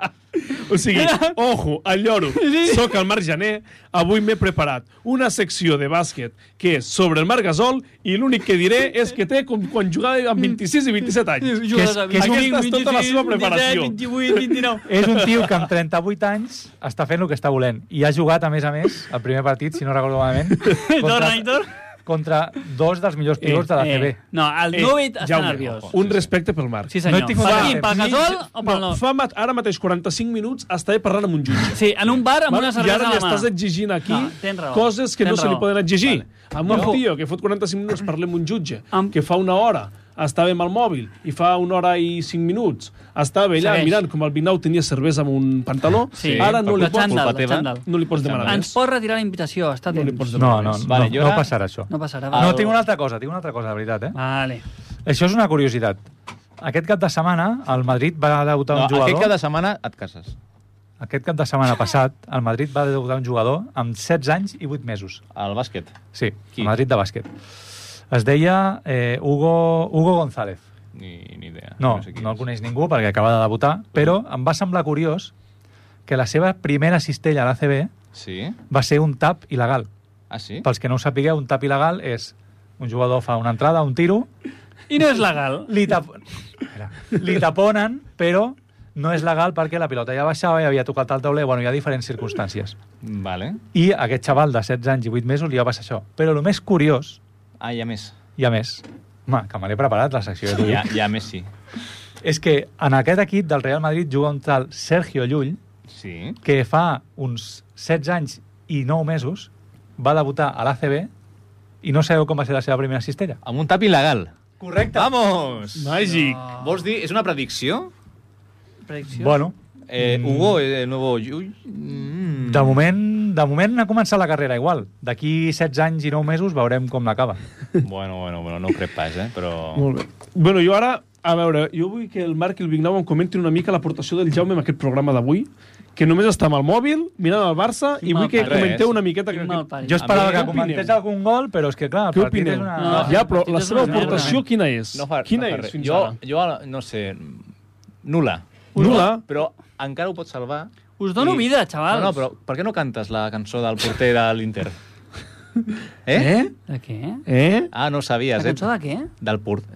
Speaker 1: O sigui, ojo, al lloro. Soc el Marc Janer. Avui m'he preparat una secció de bàsquet que és sobre el Marc Gasol i l'únic que diré és que té com quan jugava
Speaker 3: Mm.
Speaker 1: amb 26 i 27 anys.
Speaker 2: Que és- que és un-
Speaker 1: Aquesta és tota la seva preparació.
Speaker 3: 28, 29...
Speaker 2: És un tio que amb 38 anys està fent el que està volent. I ha jugat, a més a més, el primer partit, si no recordo malament,
Speaker 3: Torna, Aitor.
Speaker 2: contra dos dels millors pilots de la CB.
Speaker 3: Eh, no, el
Speaker 1: Eh,
Speaker 3: Novit està
Speaker 1: Jaume,
Speaker 3: nerviós.
Speaker 1: Un respecte pel Marc.
Speaker 3: Sí,
Speaker 2: No
Speaker 3: senyor.
Speaker 2: he tingut
Speaker 3: per
Speaker 2: temps.
Speaker 3: qui? Pel Gasol o pel
Speaker 1: no,
Speaker 3: no?
Speaker 1: fa mat- ara mateix 45 minuts estaré parlant amb un jutge.
Speaker 3: Sí, en un bar amb
Speaker 1: Val?
Speaker 3: una
Speaker 1: I
Speaker 3: cervesa
Speaker 1: ara
Speaker 3: a
Speaker 1: li
Speaker 3: la mà.
Speaker 1: estàs exigint aquí
Speaker 3: No, tens raó.
Speaker 1: coses que
Speaker 3: Tens
Speaker 1: no se li
Speaker 3: raó.
Speaker 1: poden exigir. Amb un
Speaker 3: Jo-
Speaker 1: tio que fot 45 minuts parlem amb un jutge,
Speaker 3: Am-
Speaker 1: que fa una hora estava amb el mòbil i fa una hora i cinc minuts estava allà
Speaker 3: Segueix.
Speaker 1: mirant com el Vinau tenia cervesa amb un pantaló,
Speaker 3: Sí,
Speaker 1: ara no
Speaker 4: per
Speaker 1: li,
Speaker 3: culpa-
Speaker 1: pots,
Speaker 3: xandall,
Speaker 4: culpa teva.
Speaker 3: xandall.
Speaker 1: no li pots demanar
Speaker 3: Ens
Speaker 1: més.
Speaker 3: pot retirar la invitació, està
Speaker 1: No li
Speaker 3: temps.
Speaker 1: pots
Speaker 2: No,
Speaker 1: demanar
Speaker 2: no,
Speaker 1: més.
Speaker 2: no,
Speaker 4: Vale, jo
Speaker 2: no
Speaker 4: ara-
Speaker 2: passarà això.
Speaker 3: No passarà.
Speaker 2: No,
Speaker 3: va.
Speaker 2: tinc una altra cosa, tinc una altra cosa, de veritat, eh?
Speaker 3: Vale.
Speaker 2: Això és una curiositat. Aquest cap de setmana el Madrid va debutar
Speaker 4: No,
Speaker 2: un jugador...
Speaker 4: aquest cada setmana et cases.
Speaker 2: Aquest cap de setmana passat, el Madrid va debutar un jugador amb 16 anys i 8 mesos.
Speaker 4: Al bàsquet.
Speaker 2: Sí,
Speaker 4: Qui?
Speaker 2: Qui? Madrid de bàsquet. Es deia eh, Hugo, Hugo González.
Speaker 4: Ni, ni idea.
Speaker 2: No, no,
Speaker 4: qui
Speaker 2: no el
Speaker 4: és.
Speaker 2: coneix ningú perquè acaba de debutar, però em va semblar curiós que la seva primera cistella a l'ACB
Speaker 4: Sí?
Speaker 2: va ser un tap il·legal.
Speaker 4: Ah, sí?
Speaker 2: Pels que no ho sapigueu, un tap il·legal és un jugador fa una entrada, un tiro,
Speaker 3: I no és legal.
Speaker 2: li, tap... Espera. li taponen, però no és legal perquè la pilota ja baixava, ja havia tocat el tauler, bueno, hi ha diferents circumstàncies.
Speaker 4: Vale.
Speaker 2: I a aquest xaval de 16 anys i 8 mesos li va passar això. Però el més curiós,
Speaker 4: Ah, hi ha més.
Speaker 2: i a més, home, que me l'he preparat la secció, ja t'ho
Speaker 4: Hi
Speaker 2: dic.
Speaker 4: ha, hi ha més, sí.
Speaker 2: És que en aquest equip del Real Madrid juga un tal Sergio Llull,
Speaker 4: Sí.
Speaker 2: que fa uns 16 anys i 9 mesos va debutar a l'ACB i no sabeu com va ser la seva primera cistella.
Speaker 4: Amb un tap il·legal.
Speaker 2: Correcte.
Speaker 4: Vamos!
Speaker 1: Màgic.
Speaker 4: Vols dir, és una predicció?
Speaker 3: Predicció.
Speaker 2: Bueno,
Speaker 4: Eh, Hugo, eh, el nuevo... Yu- Mm.
Speaker 2: de moment, de moment ha començat la carrera igual. D'aquí 16 anys i 9 mesos veurem com l'acaba.
Speaker 4: Bueno, bueno, bueno, no ho crec pas, eh? Però...
Speaker 1: Molt bé. Bueno, jo ara, a veure, jo vull que el Marc i el Vignau em comentin una mica l'aportació del Jaume en aquest programa d'avui, que només està amb el mòbil, mirant el Barça,
Speaker 3: Quin
Speaker 1: i vull que
Speaker 3: malparit.
Speaker 1: comenteu
Speaker 4: Res.
Speaker 1: una miqueta...
Speaker 3: Quin malparit.
Speaker 2: Jo
Speaker 1: A
Speaker 2: esperava
Speaker 1: mi,
Speaker 2: que
Speaker 1: què
Speaker 2: comentés
Speaker 1: opineu?
Speaker 2: algun gol, però és que clar, el
Speaker 1: Què
Speaker 2: partit és
Speaker 1: opineu?
Speaker 2: una...
Speaker 1: No, ja, però la
Speaker 3: és
Speaker 1: seva
Speaker 3: una merda.
Speaker 1: aportació quina és?
Speaker 4: No fa,
Speaker 1: quina
Speaker 4: no fa
Speaker 1: és
Speaker 4: res.
Speaker 1: fins
Speaker 4: jo,
Speaker 1: ara?
Speaker 4: Jo, no sé, nula.
Speaker 1: Nula.
Speaker 4: Però encara ho pots salvar.
Speaker 3: Us dono
Speaker 4: I-
Speaker 3: vida,
Speaker 1: Ah,
Speaker 3: xavals.
Speaker 4: No, no, però per què no cantes la cançó del porter de l'Inter? Eh? eh?
Speaker 3: De què?
Speaker 1: Eh?
Speaker 4: Ah, no ho
Speaker 3: La
Speaker 4: sabies, eh?
Speaker 3: cançó de què?
Speaker 4: Del porter.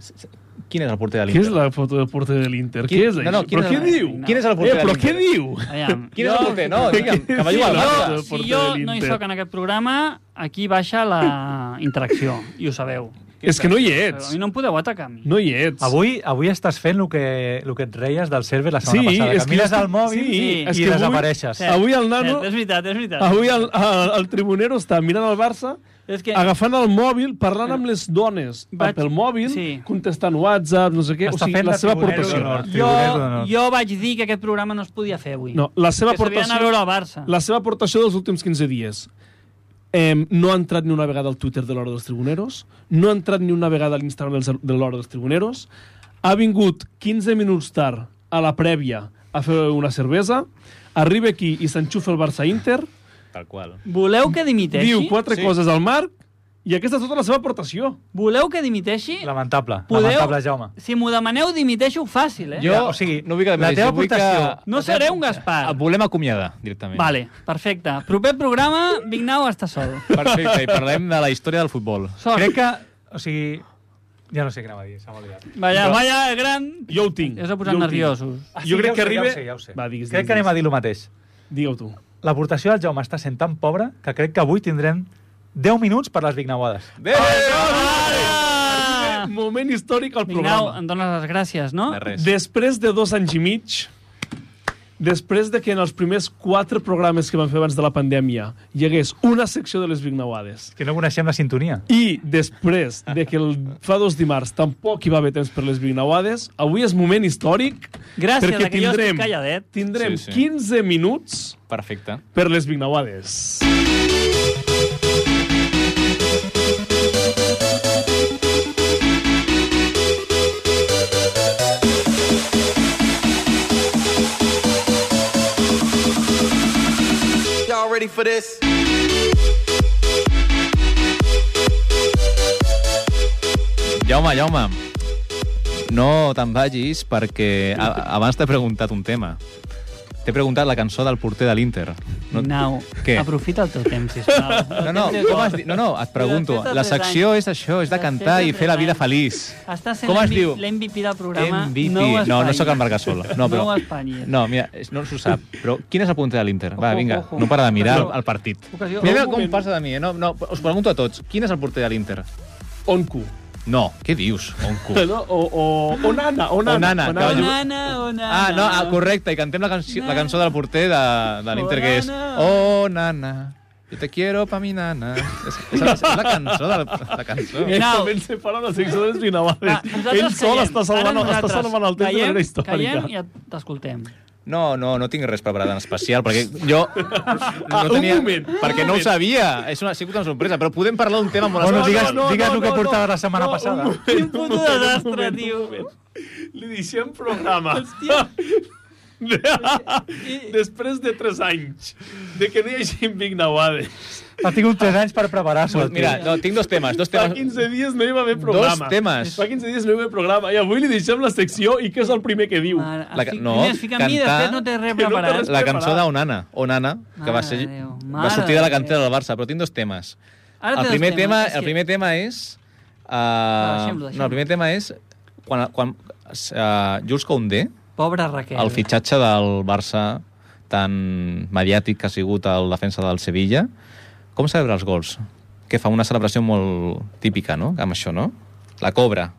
Speaker 4: Quin és el porter
Speaker 1: Què
Speaker 4: de l'Inter?
Speaker 1: és la foto del porter de l'Inter? Què és
Speaker 4: No, no,
Speaker 1: això?
Speaker 4: quin
Speaker 1: Però
Speaker 4: és
Speaker 1: què
Speaker 4: el-
Speaker 1: diu?
Speaker 4: Quin és el porter
Speaker 1: Eh,
Speaker 4: de
Speaker 1: però què
Speaker 4: l'Inter?
Speaker 1: diu?
Speaker 3: Aviam.
Speaker 4: Quin és el porter? No, digue'm, que va jugar al
Speaker 1: Sí,
Speaker 4: Barça.
Speaker 1: no.
Speaker 3: Si
Speaker 1: porter
Speaker 3: jo
Speaker 1: de
Speaker 3: no hi
Speaker 1: l'Inter.
Speaker 3: soc en aquest programa, aquí baixa la interacció, i ho sabeu.
Speaker 1: És que no hi
Speaker 3: Però a
Speaker 1: ets.
Speaker 3: mi no em podeu atacar a mi.
Speaker 1: No hi ets.
Speaker 2: Avui, avui estàs fent el que, el que et reies del server la setmana
Speaker 1: Sí,
Speaker 2: passada.
Speaker 1: és
Speaker 2: Que
Speaker 1: que
Speaker 2: mires
Speaker 1: estic-
Speaker 2: al mòbil
Speaker 1: sí,
Speaker 2: i,
Speaker 1: és
Speaker 2: i
Speaker 1: que avui-
Speaker 2: desapareixes.
Speaker 1: Cert. Avui el nano-
Speaker 3: Cert, és veritat, és veritat.
Speaker 1: Avui el, el, el tribunero està mirant el Barça,
Speaker 3: És que-
Speaker 1: agafant el mòbil, parlant amb les dones
Speaker 3: Vaig-
Speaker 1: pel mòbil,
Speaker 3: sí.
Speaker 1: contestant WhatsApp, no sé què, o
Speaker 2: Està
Speaker 1: sigui,
Speaker 2: fent
Speaker 1: la
Speaker 2: de
Speaker 1: seva
Speaker 2: tribunero
Speaker 1: aportació.
Speaker 2: d'honor.
Speaker 3: Jo,
Speaker 2: Tribunero d'honor.
Speaker 3: jo vaig dir que aquest programa no es podia fer avui.
Speaker 1: No, la seva
Speaker 3: que s'havia d'anar a
Speaker 1: aportació...
Speaker 3: veure el Barça.
Speaker 1: La seva aportació dels últims 15 dies. Eh, no ha entrat ni una vegada al Twitter de l'Hora dels Tribuneros, no ha entrat ni una vegada a l'Instagram dels- de l'Hora dels Tribuneros, ha vingut 15 minuts tard a la prèvia a fer una cervesa, arriba aquí i s'enxufa el Barça-Inter,
Speaker 4: Tal qual.
Speaker 3: Voleu que dimiteixi?
Speaker 1: diu quatre
Speaker 4: Sí.
Speaker 1: coses al Marc, i aquesta és tota la seva aportació.
Speaker 3: Voleu que dimiteixi?
Speaker 2: Lamentable,
Speaker 3: Podeu-
Speaker 2: lamentable, Jaume.
Speaker 3: Si m'ho demaneu, dimiteixo fàcil, eh?
Speaker 4: Jo,
Speaker 2: Ja, o sigui,
Speaker 4: no vull que
Speaker 2: la
Speaker 4: demanis,
Speaker 2: teva
Speaker 4: vull que-
Speaker 2: aportació-
Speaker 3: No seré un
Speaker 1: Ah,
Speaker 3: Gaspar.
Speaker 4: Ah, Et volem acomiadar, directament.
Speaker 3: Vale, perfecte. Proper programa, Vignau està sol.
Speaker 4: Perfecte, i parlem de la història del futbol.
Speaker 3: Sort.
Speaker 2: Crec que, o sigui, Ja no sé què anava a dir, s'ha oblidat.
Speaker 3: Valla,
Speaker 1: Però-
Speaker 3: valla, gran...
Speaker 1: Jo ho tinc.
Speaker 3: Ja us ha
Speaker 1: jo
Speaker 3: posat
Speaker 1: ho tinc.
Speaker 3: nerviosos.
Speaker 1: jo crec que
Speaker 2: Ah, ja ho sé,
Speaker 1: arriba-
Speaker 2: Ja ho sé, ja ho sé.
Speaker 1: Va, digues,
Speaker 2: crec
Speaker 1: digues,
Speaker 2: que anem a
Speaker 1: digues.
Speaker 2: dir el mateix.
Speaker 1: Digue-ho tu.
Speaker 2: L'aportació del Jaume està sent tan pobra que crec que avui tindrem 10 minuts per les Big Nauades.
Speaker 4: Bé!
Speaker 3: Ah!
Speaker 1: Moment històric al
Speaker 3: Mignau,
Speaker 1: programa.
Speaker 3: em dones les gràcies, no?
Speaker 4: De res.
Speaker 1: Després de dos anys i mig, després de que en els primers quatre programes que van fer abans de la pandèmia hi hagués una secció de les Big Nauades,
Speaker 2: Que no coneixem la sintonia.
Speaker 1: i després de que el, fa dos dimarts tampoc hi va haver temps per les Big Nauades, avui és moment històric perquè
Speaker 3: Gràcies, de que jo estic
Speaker 1: tindrem,
Speaker 3: calladet.
Speaker 1: tindrem
Speaker 4: Sí, sí.
Speaker 1: 15 minuts
Speaker 4: Perfecte.
Speaker 1: per les Big Nauades.
Speaker 5: Y'all ready for this?
Speaker 4: Jaume, Jaume, no te'n vagis perquè a, abans t'he preguntat un tema. T'he preguntat la cançó del porter de l'Inter. No,
Speaker 3: Mignau,
Speaker 4: Què?
Speaker 3: aprofita el teu temps, sisplau.
Speaker 4: no, no, com has dit? no, no, et pregunto.
Speaker 3: Després de
Speaker 4: La
Speaker 3: tres
Speaker 4: secció
Speaker 3: anys.
Speaker 4: és això, és de
Speaker 3: Després
Speaker 4: cantar
Speaker 3: de
Speaker 4: i fer la
Speaker 3: tres
Speaker 4: vida
Speaker 3: anys.
Speaker 4: feliç.
Speaker 3: Està sent
Speaker 4: Com es diu?
Speaker 3: l'MVP del programa.
Speaker 4: MVP.
Speaker 3: No, ho
Speaker 4: no, no
Speaker 3: espanyis.
Speaker 4: sóc el Margasol. No, però...
Speaker 3: No ho espanyis.
Speaker 4: No, mira, és- no s'ho sap. Però quin és el punter de l'Inter? Va,
Speaker 3: Ojo,
Speaker 4: vinga,
Speaker 3: ojo.
Speaker 4: no para de mirar el,
Speaker 3: Ocasió.
Speaker 4: el partit.
Speaker 3: Ocasió.
Speaker 4: Mira
Speaker 3: Un
Speaker 4: com
Speaker 3: moment.
Speaker 4: passa de mi, eh? No, no, us pregunto a tots. Quin és el porter de l'Inter?
Speaker 1: Oncu.
Speaker 4: No, què dius? On cu?
Speaker 1: No? O, o, Onana. Onana.
Speaker 4: Onana,
Speaker 3: Oh,
Speaker 4: cavallo.
Speaker 3: nana, oh, nana.
Speaker 4: Ah, no, ah, correcte, i cantem la, canci la cançó del porter de, de l'Inter, que és Oh, nana, yo te quiero pa mi nana. És, és, la- és la cançó de la, la cançó.
Speaker 1: Ell
Speaker 3: Now.
Speaker 1: comença per una secció de les Big Nauades.
Speaker 3: Va, nosaltres
Speaker 1: Ell sol
Speaker 3: callem.
Speaker 1: està
Speaker 3: Ara
Speaker 1: salvant, està
Speaker 3: nosaltres
Speaker 1: salvant el temps de manera històrica.
Speaker 3: Callem i et- t'escoltem.
Speaker 4: No, no, no tinc res preparat en especial, perquè jo no
Speaker 1: un
Speaker 4: tenia...
Speaker 1: moment, un
Speaker 4: perquè no ho
Speaker 1: moment.
Speaker 4: sabia. És una, ha sigut una sorpresa, però podem parlar d'un tema molt
Speaker 2: Bueno,
Speaker 4: especial.
Speaker 2: digues,
Speaker 1: no,
Speaker 2: digues
Speaker 1: no,
Speaker 2: el que
Speaker 1: no,
Speaker 2: portava
Speaker 1: no.
Speaker 2: la setmana
Speaker 1: No, un
Speaker 2: passada.
Speaker 1: moment,
Speaker 3: Quin
Speaker 1: un
Speaker 3: puto
Speaker 1: moment, un
Speaker 3: desastre,
Speaker 1: moment,
Speaker 3: tio.
Speaker 1: un moment. Li deixem programa.
Speaker 3: Hòstia.
Speaker 1: Després de 3 anys de que no hi hagi Big Nauades,
Speaker 2: Ha tingut 3 anys per preparar-se.
Speaker 4: Pues mira, no, tinc dos temes, dos
Speaker 1: fa
Speaker 4: temes.
Speaker 1: 15 dies no hi va haver programa.
Speaker 4: Dos temes.
Speaker 1: Fa 15 dies no hi va haver programa. I avui li deixem la secció i què és el primer que diu?
Speaker 3: Mare,
Speaker 4: La
Speaker 3: es
Speaker 4: ca-
Speaker 3: fi-
Speaker 4: no,
Speaker 3: primer es fica amb mi,
Speaker 4: cantar-
Speaker 3: després no té res
Speaker 1: que no té
Speaker 3: preparat.
Speaker 1: res
Speaker 4: La cançó d'Onana, Onana, que va,
Speaker 3: Mare
Speaker 4: ser,
Speaker 3: de Déu,
Speaker 4: va
Speaker 3: mare
Speaker 4: sortir de la
Speaker 3: de Déu.
Speaker 4: cantera del Barça, però tinc dos temes.
Speaker 3: Ara té
Speaker 4: el
Speaker 3: dos
Speaker 4: primer
Speaker 3: temes,
Speaker 4: tema,
Speaker 3: és que-
Speaker 4: el primer tema és uh,
Speaker 3: deixem-lo,
Speaker 4: no, el primer tema és quan quan uh, Jules Koundé,
Speaker 3: Pobre Raquel.
Speaker 4: el fitxatge del Barça tan mediàtic que ha sigut el defensa del Sevilla, com celebra els gols? Que fa una celebració molt típica, no? Amb això, no? La cobra.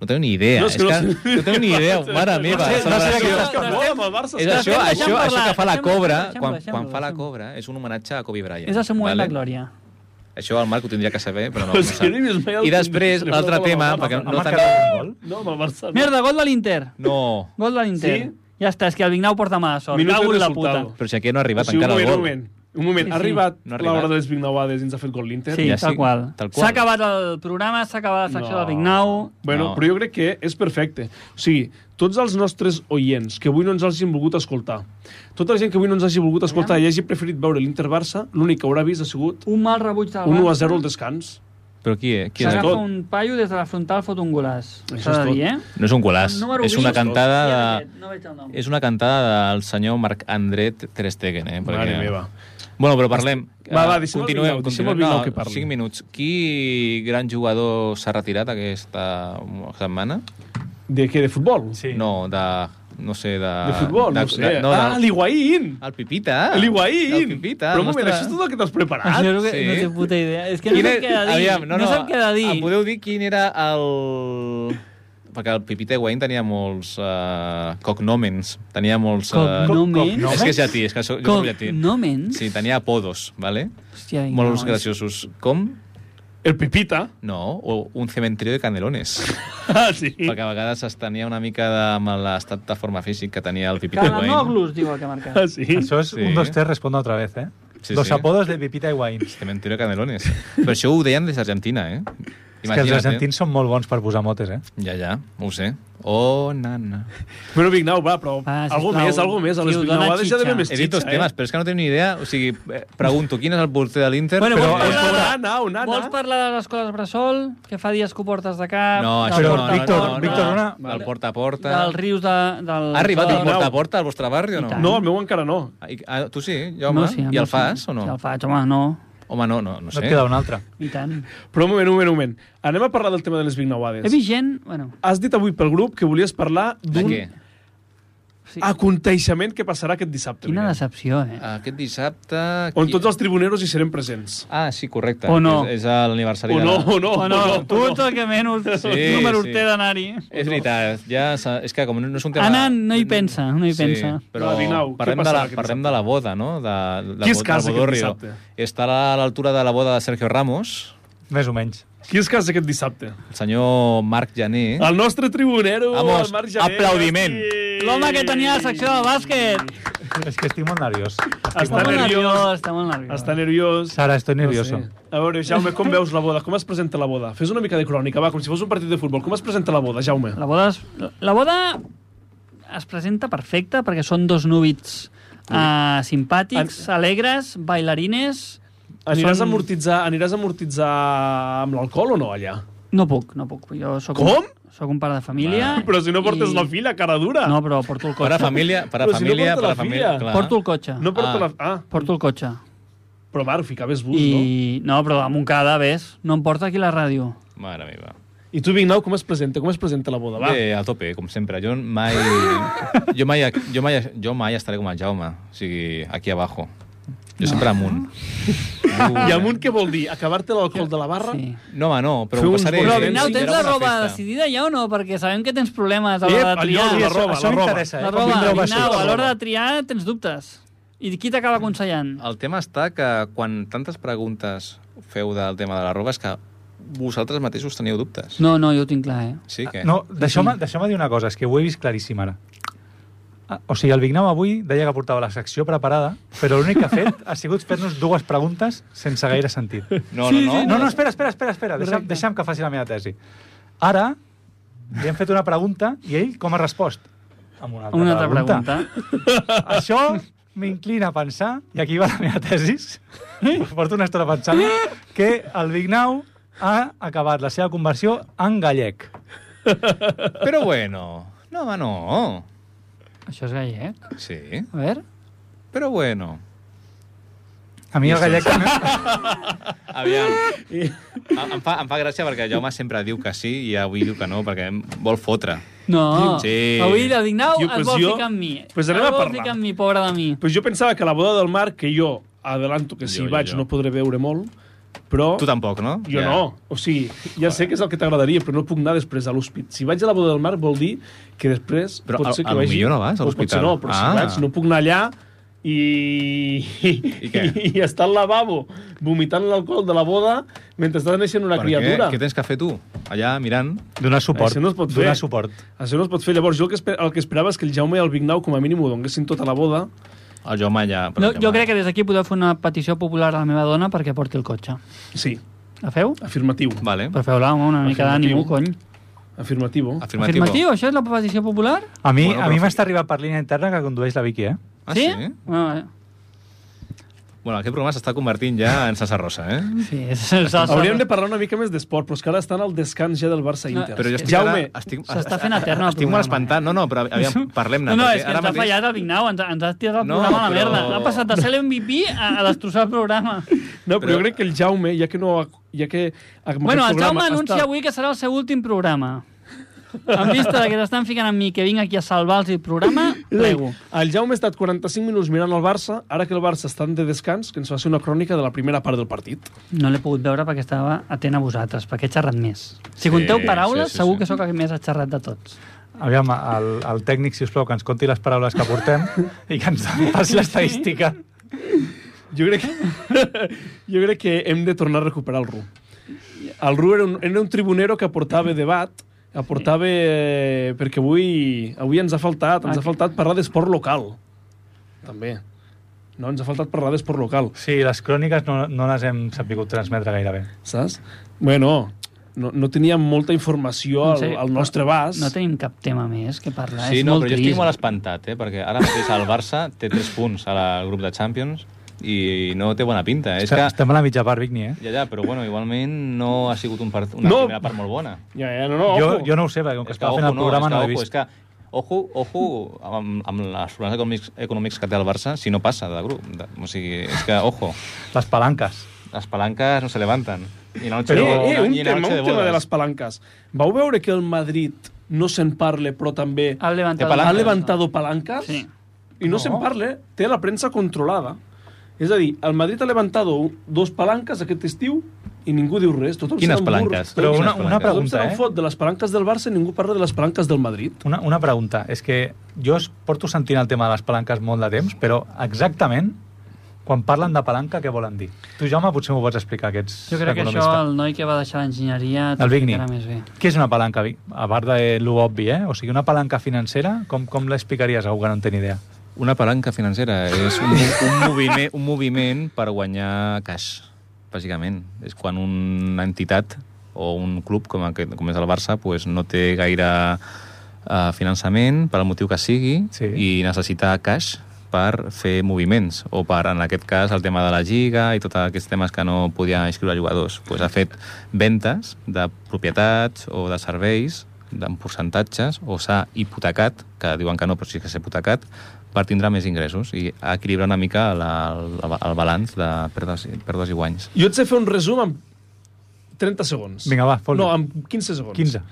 Speaker 4: No teniu ni idea.
Speaker 1: No,
Speaker 4: No,
Speaker 1: és
Speaker 4: és
Speaker 1: que
Speaker 4: que
Speaker 1: no
Speaker 4: no,
Speaker 1: sé-
Speaker 4: no teniu ni idea, mare meva.
Speaker 2: sé- no sé de què
Speaker 4: celebració.
Speaker 2: estàs
Speaker 1: Que mola amb el Barça.
Speaker 4: És això,
Speaker 3: Deixem
Speaker 4: això,
Speaker 3: parlar,
Speaker 4: això que fa la
Speaker 3: deixem-ho,
Speaker 4: cobra,
Speaker 3: deixem-ho,
Speaker 4: quan,
Speaker 3: deixem-ho,
Speaker 4: quan fa la
Speaker 3: deixem-ho.
Speaker 4: cobra, és un homenatge a Kobe Bryant.
Speaker 3: És el seu moment
Speaker 4: vale?
Speaker 3: de glòria.
Speaker 4: Això el Marc ho tindria que saber, però no.
Speaker 1: Però
Speaker 4: no
Speaker 1: és que no he vist mai
Speaker 4: sap.
Speaker 1: el-
Speaker 4: Doncs I després, l'altre tema, perquè
Speaker 2: Ha
Speaker 4: no
Speaker 2: marcat
Speaker 4: tenim...
Speaker 2: un gol?
Speaker 1: No, amb el Barça. No.
Speaker 3: Merda, gol de l'Inter.
Speaker 4: No,
Speaker 3: Gol de l'Inter.
Speaker 1: Sí?
Speaker 3: Ja està, és que el Vignau porta mala sort.
Speaker 1: Minuto
Speaker 3: Cago en la
Speaker 1: resultado.
Speaker 3: puta.
Speaker 4: però si aquí no ha arribat
Speaker 1: Sí, un
Speaker 4: encara
Speaker 1: moment,
Speaker 4: el
Speaker 1: un
Speaker 4: gol.
Speaker 1: moment. Un moment,
Speaker 3: Sí,
Speaker 1: ha
Speaker 3: sí.
Speaker 1: arribat
Speaker 4: No ha
Speaker 1: l'hora
Speaker 4: arribat.
Speaker 1: de les Big Nauades i ens ha fet gol l'Inter?
Speaker 3: Sí,
Speaker 4: Ja
Speaker 3: tal
Speaker 4: sí,
Speaker 3: qual.
Speaker 4: tal qual.
Speaker 3: S'ha acabat el programa, s'ha acabat la secció del Vignau.
Speaker 1: Bueno,
Speaker 4: No.
Speaker 1: però jo crec que és perfecte. O sigui, tots els nostres oients que avui no ens hagin volgut escoltar, tota la gent que avui no ens hagi volgut escoltar i hagi preferit veure l'Inter-Barça, l'únic que haurà vist ha sigut
Speaker 3: Un mal rebuig del
Speaker 1: un 1 a
Speaker 3: Barça.
Speaker 1: 0 al descans.
Speaker 4: Però qui, és? qui és?
Speaker 1: Serà-
Speaker 3: S'agafa
Speaker 1: tot.
Speaker 3: un paio des de la frontal, fot un golaç.
Speaker 1: Això
Speaker 3: S'ha
Speaker 1: és
Speaker 3: de
Speaker 1: tot.
Speaker 3: dir, eh?
Speaker 4: No és un golaç,
Speaker 3: Número
Speaker 4: és
Speaker 3: vuit.
Speaker 4: una cantada
Speaker 3: Qui era
Speaker 4: de...
Speaker 3: aquest? No veig el nom.
Speaker 4: És una cantada del senyor Marc-André Ter Stegen, eh? Perquè...
Speaker 1: Mare meva.
Speaker 4: Bueno, però parlem.
Speaker 1: Va, va,
Speaker 4: Eh,
Speaker 1: deixem el
Speaker 4: continuem,
Speaker 1: Vignau, deixem el
Speaker 4: continuem.
Speaker 1: Vignau que parli.
Speaker 4: 5 minuts. Qui gran jugador s'ha retirat aquesta setmana?
Speaker 1: De què? De futbol?
Speaker 2: Sí.
Speaker 4: No, de... No sé, Ah, de...
Speaker 1: De futbol? no sé.
Speaker 4: no,
Speaker 1: ah,
Speaker 4: de,
Speaker 1: l'Higuaín!
Speaker 4: el Pipita. El
Speaker 1: L'Higuaín!
Speaker 4: Pipita.
Speaker 1: Però un
Speaker 4: el
Speaker 1: moment, això
Speaker 4: nostre-
Speaker 1: és tot el que t'has preparat?
Speaker 3: Això és el que
Speaker 4: sí.
Speaker 3: no té puta idea. És que no sap què ha de dir.
Speaker 4: Aviam,
Speaker 3: no, sap què ha de dir.
Speaker 4: Em podeu dir quin era el... Perquè el Pipita Higuaín tenia molts uh, cognomens. Tenia molts... eh,
Speaker 3: Cognomens?
Speaker 4: És que és llatí, és que sóc, jo soc llatí.
Speaker 3: Cognomens?
Speaker 4: Sí, tenia apodos, ¿vale?
Speaker 3: Hòstia, Vignau,
Speaker 4: Molts
Speaker 3: és-
Speaker 4: graciosos. Com?
Speaker 1: El Pipita.
Speaker 4: No, o un cementerio de canelones.
Speaker 1: Ah, sí.
Speaker 4: perquè a vegades es tenia una mica de amb l'estat de forma físic que tenia el Pipita Higuaín.
Speaker 3: Calanoglus, diu el que ha marcat.
Speaker 1: Ah, sí.
Speaker 2: Això és
Speaker 4: Sí.
Speaker 2: un, dos, tres, respondo otra vez, eh?
Speaker 4: Sí,
Speaker 2: Los
Speaker 4: sí.
Speaker 2: apodos de Pipita y Wine.
Speaker 4: Cementerio de canelones. Però això ho deien des d'Argentina, eh?
Speaker 2: És que els argentins són molt bons per posar motes, eh?
Speaker 4: Ja, ja, ho sé. Oh, nana.
Speaker 1: Però Vignau, va, però...
Speaker 3: Va, Ah, sisplau.
Speaker 1: algo més, algo més. A les
Speaker 3: Tio,
Speaker 1: Big
Speaker 3: dona
Speaker 1: Nauades ja
Speaker 3: xitxa.
Speaker 1: devem més
Speaker 4: He dit dos
Speaker 1: xitxa,
Speaker 4: temes,
Speaker 1: eh?
Speaker 4: però és que no tinc ni idea. O sigui, eh, pregunto, quin és el porter de l'Inter?
Speaker 3: Bueno,
Speaker 1: Ah,
Speaker 4: però...
Speaker 3: vols parlar-
Speaker 1: Onana, Onana.
Speaker 3: Vols parlar de les escoles Bressol? Que fa dies que ho portes de cap?
Speaker 4: No,
Speaker 3: del
Speaker 4: això
Speaker 2: Però,
Speaker 4: no, no,
Speaker 2: Víctor,
Speaker 4: no, no,
Speaker 2: Víctor,
Speaker 4: no.
Speaker 2: una-
Speaker 4: Del porta a porta...
Speaker 3: Del rius de... Del...
Speaker 4: Ha arribat el
Speaker 1: Vignau.
Speaker 4: porta a porta al vostre barri o
Speaker 3: I
Speaker 4: no?
Speaker 3: tant.
Speaker 1: No, el meu encara no.
Speaker 4: Ah, i- ah, tu sí, jo, home.
Speaker 3: sí, a
Speaker 4: I
Speaker 3: mi
Speaker 4: el
Speaker 3: sí.
Speaker 4: fas o no?
Speaker 3: Sí, el faig, home, no.
Speaker 4: Oh, Home, no, no, no
Speaker 2: No
Speaker 4: sé.
Speaker 2: et queda un altre.
Speaker 3: I tant.
Speaker 1: Però un moment, un moment, un moment. Anem a parlar del tema de les
Speaker 3: He
Speaker 1: Vignauades.
Speaker 3: vist gent... Bueno,
Speaker 1: Has dit avui pel grup que volies parlar
Speaker 4: De
Speaker 1: d'un
Speaker 4: què?
Speaker 3: sí.
Speaker 4: Ah,
Speaker 1: aconteixement que passarà aquest dissabte.
Speaker 3: Quina
Speaker 1: Miguel,
Speaker 3: decepció, eh?
Speaker 4: Aquest dissabte...
Speaker 1: on tots els tribuneros hi serem presents.
Speaker 4: Ah, sí, correcte.
Speaker 3: O no.
Speaker 4: És, és l'aniversari
Speaker 1: O no,
Speaker 4: de...
Speaker 1: o no,
Speaker 3: Oh,
Speaker 1: o
Speaker 3: no,
Speaker 1: no.
Speaker 3: tu ets el que menys
Speaker 4: Sí,
Speaker 3: número
Speaker 4: sí.
Speaker 3: té d'anar-hi.
Speaker 4: És veritat, ja... s'ha- És que com no, no és un tema...
Speaker 3: Anna no hi pensa, no hi pensa.
Speaker 4: Sí, però
Speaker 1: Va, Dinau, què
Speaker 4: parlem, de
Speaker 1: passarà
Speaker 4: la,
Speaker 1: aquest
Speaker 4: parlem
Speaker 1: dissabte?
Speaker 4: de la boda, no? De, de
Speaker 1: Qui es casa aquest
Speaker 4: Bodorrio.
Speaker 1: dissabte?
Speaker 4: Està a l'altura de la boda de Sergio Ramos,
Speaker 2: Més o menys.
Speaker 1: Qui es casa aquest dissabte?
Speaker 4: el senyor Marc Jané.
Speaker 1: El nostre tribunero,
Speaker 4: Vamos,
Speaker 1: el Marc Jané.
Speaker 4: aplaudiment.
Speaker 3: L'home que tenia la secció de bàsquet.
Speaker 2: És que estic molt nerviós. Estic
Speaker 1: Està
Speaker 3: Està molt
Speaker 1: nerviós.
Speaker 3: nerviós, està molt nerviós.
Speaker 1: Està nerviós.
Speaker 2: Sara, estoy nervioso.
Speaker 1: No sé. A veure, Jaume, com veus la boda? Com es presenta la boda? Fes una mica de crònica, va, com si fos un partit de futbol. Com es presenta la boda, Jaume?
Speaker 3: La boda, es, la boda es presenta perfecta perquè són dos núvits uh, simpàtics, alegres, bailarines...
Speaker 1: Aniràs a
Speaker 3: Són-
Speaker 1: amortitzar, aniràs a amortitzar amb l'alcohol o no, allà?
Speaker 3: No puc, no puc. Jo soc
Speaker 1: Com? Ah,
Speaker 3: Un, soc un pare de família...
Speaker 1: Però si no portes la filla, cara dura.
Speaker 3: No, però porto el
Speaker 4: Per a
Speaker 3: cotxe.
Speaker 4: família, per a
Speaker 1: Però si no
Speaker 4: família,
Speaker 1: porta
Speaker 4: per
Speaker 1: la
Speaker 4: a família,
Speaker 1: filla.
Speaker 4: clar.
Speaker 3: Porto el cotxe.
Speaker 1: No porto
Speaker 4: Ah.
Speaker 1: la... Ah,
Speaker 3: Porto el cotxe.
Speaker 1: però, Marc, ficaves bus, I...
Speaker 3: I... No, però a Montcada, ves, no em porta aquí la ràdio.
Speaker 4: Mare meva.
Speaker 1: no? I tu, Vignau, com es presenta? Com es presenta la boda? Va.
Speaker 4: Bé, a tope, com sempre. Jo mai... jo, mai jo, mai, jo mai estaré com el Jaume. O sigui, aquí abajo. Jo sempre amunt.
Speaker 1: I amunt què vol dir? Acabar-te l'alcohol de la barra?
Speaker 3: Sí.
Speaker 4: No, home, no, però
Speaker 1: Fer
Speaker 4: ho
Speaker 1: uns
Speaker 4: passaré.
Speaker 1: bons
Speaker 3: Però,
Speaker 1: sí,
Speaker 3: Vinau,
Speaker 1: sí,
Speaker 3: tens
Speaker 4: Serà
Speaker 3: la
Speaker 4: una
Speaker 3: roba
Speaker 4: festa.
Speaker 3: decidida ja o no? Perquè sabem que tens problemes
Speaker 1: Ep,
Speaker 3: a l'hora de
Speaker 1: allò, la
Speaker 3: triar.
Speaker 1: roba,
Speaker 2: Això
Speaker 1: la roba.
Speaker 2: m'interessa, eh?
Speaker 3: La roba,
Speaker 2: Vindreu baixos,
Speaker 3: Vinau,
Speaker 2: la
Speaker 3: a
Speaker 2: roba.
Speaker 3: l'hora de triar tens dubtes. I qui t'acaba aconsellant?
Speaker 4: El tema està que quan tantes preguntes feu del tema de la roba és que vosaltres mateixos teniu dubtes.
Speaker 3: No, no, jo ho tinc clar, eh?
Speaker 4: Sí que...
Speaker 2: Ah, No, deixeu-me deixeu dir una cosa, és que ho he vist claríssim ara. Ah, O sigui, el Vignau avui deia que portava la secció preparada, però l'únic que ha fet ha sigut fer-nos dues preguntes sense gaire sentit.
Speaker 4: No, no, no.
Speaker 2: No, no, espera, espera, espera, espera. Deixa'm, deixa'm que faci la meva tesi. Ara, li hem fet una pregunta i ell com ha respost? Amb una altra,
Speaker 3: Una altra pregunta.
Speaker 2: Això m'inclina a pensar, i aquí va la meva tesis, us porto una estona pensant, que el Vignau ha acabat la seva conversió en gallec.
Speaker 4: Però bueno. No, home, no.
Speaker 3: Això és gallec?
Speaker 4: Sí,
Speaker 3: A veure...
Speaker 4: però bueno.
Speaker 2: A mi el gallec...
Speaker 4: Aviam. Em em fa, em fa gràcia perquè Jaume sempre diu que sí i avui diu que no, perquè em vol fotre.
Speaker 3: No,
Speaker 4: Sí.
Speaker 3: avui la Dignau
Speaker 1: Jo,
Speaker 3: jo,
Speaker 1: pues
Speaker 3: es vol
Speaker 1: jo-
Speaker 3: ficar amb mi.
Speaker 1: pues anem
Speaker 3: es
Speaker 1: a
Speaker 3: vol
Speaker 1: parlar.
Speaker 3: ficar amb mi, pobre de mi.
Speaker 1: Pues jo pensava que la boda del Marc, que jo adelanto que si
Speaker 4: Jo,
Speaker 1: hi
Speaker 4: jo,
Speaker 1: vaig
Speaker 4: jo.
Speaker 1: no podré veure molt, però...
Speaker 4: Tu tampoc, no?
Speaker 1: Oh. Jo
Speaker 4: Ja.
Speaker 1: no. O sigui, ja sé que és el que t'agradaria, però no puc anar després a l'hospital. Si vaig a la boda del mar vol dir que després
Speaker 4: Però
Speaker 1: pot
Speaker 4: al-
Speaker 1: ser que
Speaker 4: al
Speaker 1: vagi...
Speaker 4: millor no vas a
Speaker 1: O
Speaker 4: l'hospital.
Speaker 1: Potser no, però
Speaker 4: Ah.
Speaker 1: si vaig no puc anar allà i...
Speaker 4: I què?
Speaker 1: I, estar al lavabo vomitant l'alcohol de la boda mentre està naixent una
Speaker 4: Per
Speaker 1: criatura.
Speaker 4: Què? què tens que fer tu? Allà mirant...
Speaker 2: Donar suport.
Speaker 1: Això no es pot fer.
Speaker 2: Donar suport.
Speaker 1: Això no es pot fer. Llavors, jo el que, esper... el que esperava és que el Jaume i el Vignau com a mínim ho donguessin tota la boda.
Speaker 4: El Jaume allà...
Speaker 3: No, jo crec que des d'aquí podeu fer una petició popular a la meva dona perquè porti el cotxe.
Speaker 1: Sí,
Speaker 3: La feu?
Speaker 1: afirmatiu.
Speaker 4: Vale.
Speaker 3: Per fer-la home, una mica
Speaker 1: Afirmatiu.
Speaker 3: d'ànimo, cony.
Speaker 1: Afirmativo.
Speaker 4: Afirmatiu.
Speaker 3: Afirmatiu, això és la petició popular?
Speaker 2: A mi
Speaker 4: Bueno,
Speaker 2: bueno, a
Speaker 4: però-
Speaker 2: mi m'està arribat per línia interna que condueix la Vicky, eh?
Speaker 4: Ah, sí?
Speaker 3: sí? Ah, eh.
Speaker 4: Bueno, aquest programa s'està convertint ja en Sasa Rosa, eh?
Speaker 3: sí és el sastre.
Speaker 1: Hauríem de parlar una mica més d'esport, però és que ara estan al descans ja del Barça-Inter.
Speaker 3: No,
Speaker 4: Però jo estic
Speaker 1: Jaume,
Speaker 4: ara... Estic,
Speaker 3: S'està fent etern el
Speaker 4: Estic
Speaker 3: programa,
Speaker 4: molt espantat. No, no, però aviam, parlem-ne.
Speaker 3: No, no,
Speaker 4: perquè
Speaker 3: és que ens ha
Speaker 4: mateix-
Speaker 3: fallat el Vignau, ens, ens ha tirat el
Speaker 4: No,
Speaker 3: programa a la
Speaker 4: però-
Speaker 3: merda. Ha passat de ser l'MVP a, a destrossar el programa.
Speaker 1: No, però,
Speaker 4: Però-
Speaker 1: jo crec que el Jaume, ja que no... ha- Ja que amb
Speaker 3: bueno,
Speaker 1: aquest
Speaker 3: el Jaume
Speaker 1: programa
Speaker 3: anuncia
Speaker 1: està-
Speaker 3: avui que serà el seu últim programa. En vista de que t'estan ficant amb mi que vinc aquí a salvar-los el programa,
Speaker 1: És a dir,
Speaker 3: prego.
Speaker 1: El Jaume ha estat 45 minuts mirant el Barça, ara que el Barça està de descans, que ens faci una crònica de la primera part del partit.
Speaker 3: No l'he pogut veure perquè estava atent a vosaltres, perquè he xerrat més. Si conteu
Speaker 4: Sí,
Speaker 3: paraules,
Speaker 4: sí, sí,
Speaker 3: segur
Speaker 4: sí.
Speaker 3: que sóc el que més ha xerrat de tots.
Speaker 2: Aviam, el, el tècnic, si us plau, que ens conti les paraules que portem i que ens passi l'estadística.
Speaker 1: Jo crec, que, jo crec que hem de tornar a recuperar el Ru. El Ru era un, era un tribunero que aportava debat, aportava... Eh, perquè avui, avui ens ha faltat, ens ha faltat parlar d'esport local. També. No, ens ha faltat parlar d'esport local.
Speaker 2: Sí, les cròniques no, no les hem sabut transmetre gaire bé.
Speaker 1: saps? Bueno, no, no teníem molta informació
Speaker 3: En
Speaker 1: al,
Speaker 3: sèrio,
Speaker 1: al nostre abast.
Speaker 3: No tenim cap tema més que parlar, Ah,
Speaker 4: Sí,
Speaker 3: és
Speaker 4: no,
Speaker 3: molt
Speaker 4: però jo estic
Speaker 3: trist.
Speaker 4: molt espantat, eh? Perquè ara mateix el Barça té 3 punts al grup de Champions i no té bona pinta. És
Speaker 2: Est-
Speaker 4: que...
Speaker 2: Estem a la mitja part, Vigny, eh?
Speaker 4: Ja, ja, però bueno, igualment no ha sigut un part... una
Speaker 1: No.
Speaker 4: primera part molt bona.
Speaker 1: Ja, ja, no, no,
Speaker 2: Jo,
Speaker 1: ojo.
Speaker 2: jo no ho sé, perquè com que
Speaker 4: És
Speaker 2: estava fent el programa no,
Speaker 4: no,
Speaker 2: he
Speaker 4: és
Speaker 2: vist.
Speaker 4: que, ojo, és que, ojo, ojo amb, amb els problemes econòmics, econòmics que té el Barça si no passa de grup. De, o sigui, és que, ojo,
Speaker 2: Les palanques.
Speaker 4: Las palancas no se levantan. Y la noche,
Speaker 1: Però,
Speaker 4: de-
Speaker 1: eh, eh, un
Speaker 4: y la
Speaker 1: tema,
Speaker 4: noche
Speaker 1: un tema
Speaker 4: bodas.
Speaker 1: de les palanques. Vau veure que el Madrid no se'n parle, però també
Speaker 3: Ha levantado.
Speaker 4: Palanca.
Speaker 1: ha levantado palanques?
Speaker 3: Sí.
Speaker 1: I no, no. se'n parle, té la premsa controlada. És a dir, el Madrid ha levantado un- dos palanques aquest estiu i ningú diu res. Tothom
Speaker 4: Quines
Speaker 1: se n'embur-
Speaker 4: palanques?
Speaker 1: Tothom,
Speaker 2: Però
Speaker 4: Quines
Speaker 2: una, una
Speaker 4: palanques?
Speaker 1: tothom se
Speaker 2: pregunta, eh?
Speaker 1: n'enfot de les palanques del Barça i ningú parla de les palanques del Madrid.
Speaker 2: Una, una pregunta. És que jo es- porto sentint el tema de les palanques molt de temps, però exactament quan parlen de palanca, què volen dir? Tu, Jaume, potser m'ho pots explicar, que ets
Speaker 3: Jo crec que això
Speaker 2: economista.
Speaker 3: el noi que va deixar l'enginyeria
Speaker 2: El Vigni.
Speaker 3: t'explicarà més bé.
Speaker 2: Què és una palanca, Vic? a part de lo obvi, eh? O sigui, una palanca financera, com, com l'explicaries a algú que no en té ni idea?
Speaker 4: Una palanca financera és un, un, moviment, un moviment per guanyar cash, bàsicament. És quan una entitat o un club com, aquest, com és el Barça pues, no té gaire uh, finançament per al motiu que sigui
Speaker 2: Sí.
Speaker 4: i necessita cash per fer moviments o per, en aquest cas, el tema de la lliga i tots aquests temes que no podia inscriure jugadors. Pues ha fet ventes de propietats o de serveis en percentatges o s'ha hipotecat, que diuen que no, però sí que s'ha hipotecat, per tindre més ingressos i equilibrar una mica la, el, el balanç de pèrdues, i- pèrdues i guanys.
Speaker 1: Jo et sé fer un resum en 30 segons.
Speaker 2: Vinga, va, fot-li.
Speaker 1: No, en 15 segons.
Speaker 2: 15.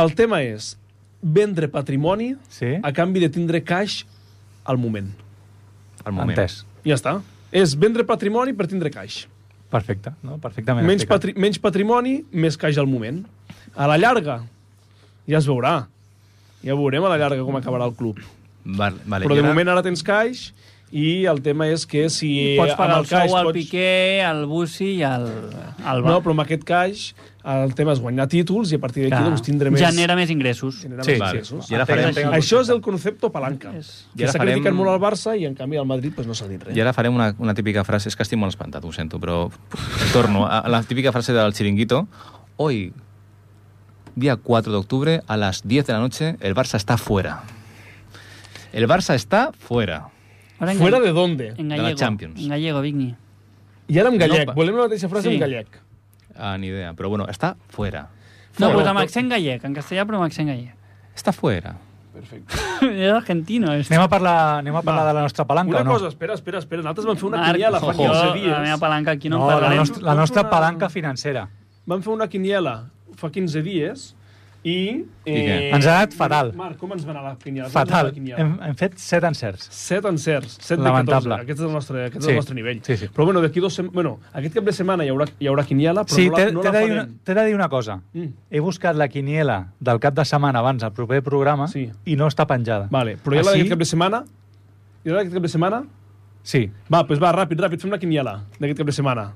Speaker 1: El tema és vendre patrimoni
Speaker 2: Sí.
Speaker 1: a canvi de tindre cash al moment.
Speaker 4: Al moment.
Speaker 2: Entès.
Speaker 1: Ja està. És vendre patrimoni per tindre cash.
Speaker 2: Perfecte, no? Perfectament
Speaker 1: Menys,
Speaker 2: explicat.
Speaker 1: patri menys patrimoni, més cash al moment. A la llarga, ja es veurà. Ja veurem a la llarga com acabarà el club.
Speaker 4: Vale, vale,
Speaker 1: Però
Speaker 4: i
Speaker 1: de
Speaker 4: ara-
Speaker 1: moment ara tens cash i el tema és que si...
Speaker 3: Pots
Speaker 1: Eh, amb
Speaker 3: pagar el
Speaker 1: cash
Speaker 3: sou al
Speaker 1: pots-
Speaker 3: Piqué, al Busi i al, al
Speaker 1: No, però amb aquest cash el tema és guanyar títols i a partir d'aquí
Speaker 3: Clar.
Speaker 1: doncs, tindre més...
Speaker 3: Genera més ingressos.
Speaker 1: generar
Speaker 2: Sí,
Speaker 1: més
Speaker 2: vale.
Speaker 1: ingressos.
Speaker 4: I ara farem,
Speaker 2: Entenc, entenc.
Speaker 1: Això és el concepte palanca.
Speaker 3: És-
Speaker 1: Que
Speaker 4: I ara
Speaker 1: s'ha
Speaker 4: farem-
Speaker 1: criticat molt al Barça i, en canvi, al Madrid pues, no s'ha dit res.
Speaker 4: I ara farem una, una típica frase, és que estic molt espantat, ho sento, però torno a la típica frase del chiringuito. Hoy, día 4 de octubre, a las 10 de la noche, el Barça está fuera. El Barça está fuera.
Speaker 3: Ara en
Speaker 1: Fuera
Speaker 3: galle-
Speaker 1: de dónde?
Speaker 3: En
Speaker 4: de la
Speaker 3: gallego,
Speaker 4: Champions.
Speaker 3: En gallego, Vigni.
Speaker 1: I ara en gallec.
Speaker 4: No, pa-
Speaker 1: Volem la mateixa frase
Speaker 3: Sí.
Speaker 1: en gallec.
Speaker 4: Ah, ni idea, però bueno, està fuera.
Speaker 3: No,
Speaker 1: Fuera.
Speaker 3: pues amb accent gallec, en castellà però amb accent gallec.
Speaker 4: Està fuera.
Speaker 3: És argentino, és.
Speaker 2: Anem a parlar, anem a parlar de la nostra palanca,
Speaker 1: Una
Speaker 2: o no?
Speaker 1: cosa, espera, espera, espera. Nosaltres vam fer una quiniela fa
Speaker 4: ojo.
Speaker 1: 15
Speaker 3: jo, la meva
Speaker 1: dies.
Speaker 3: palanca aquí no,
Speaker 2: no,
Speaker 3: en
Speaker 2: la,
Speaker 3: parlarem.
Speaker 2: nostra, la nostra
Speaker 1: Una-
Speaker 2: palanca financera.
Speaker 1: Vam fer una quiniela fa 15 dies i... eh,
Speaker 4: què?
Speaker 2: Ens ha anat fatal.
Speaker 1: Marc, com ens va anar la quiniela? Com ens va anar
Speaker 2: Fatal.
Speaker 1: la quiniela?
Speaker 2: Hem, hem fet set encerts.
Speaker 1: 7 encerts, 7 de
Speaker 2: Lamentable.
Speaker 1: 14. Aquest és el nostre, aquest és
Speaker 2: Sí.
Speaker 1: el nostre nivell.
Speaker 2: Sí, sí.
Speaker 1: Però bueno, d'aquí dos... sem- Bueno, aquest cap de setmana hi haurà, hi haurà quiniela, però
Speaker 2: Sí,
Speaker 1: no
Speaker 2: t'he
Speaker 1: la, no
Speaker 2: t'he
Speaker 1: la
Speaker 2: de, dir
Speaker 1: farem.
Speaker 2: una- t'he de dir una cosa.
Speaker 1: Mm.
Speaker 2: He buscat la quiniela del cap de setmana abans del proper programa
Speaker 1: Sí.
Speaker 2: i no està penjada.
Speaker 1: Vale, però hi ha la
Speaker 2: Ah,
Speaker 1: d'aquest cap de setmana? Hi ha la d'aquest cap de setmana?
Speaker 2: Sí.
Speaker 1: Va, doncs va, ràpid, ràpid, fem una quiniela d'aquest cap de setmana.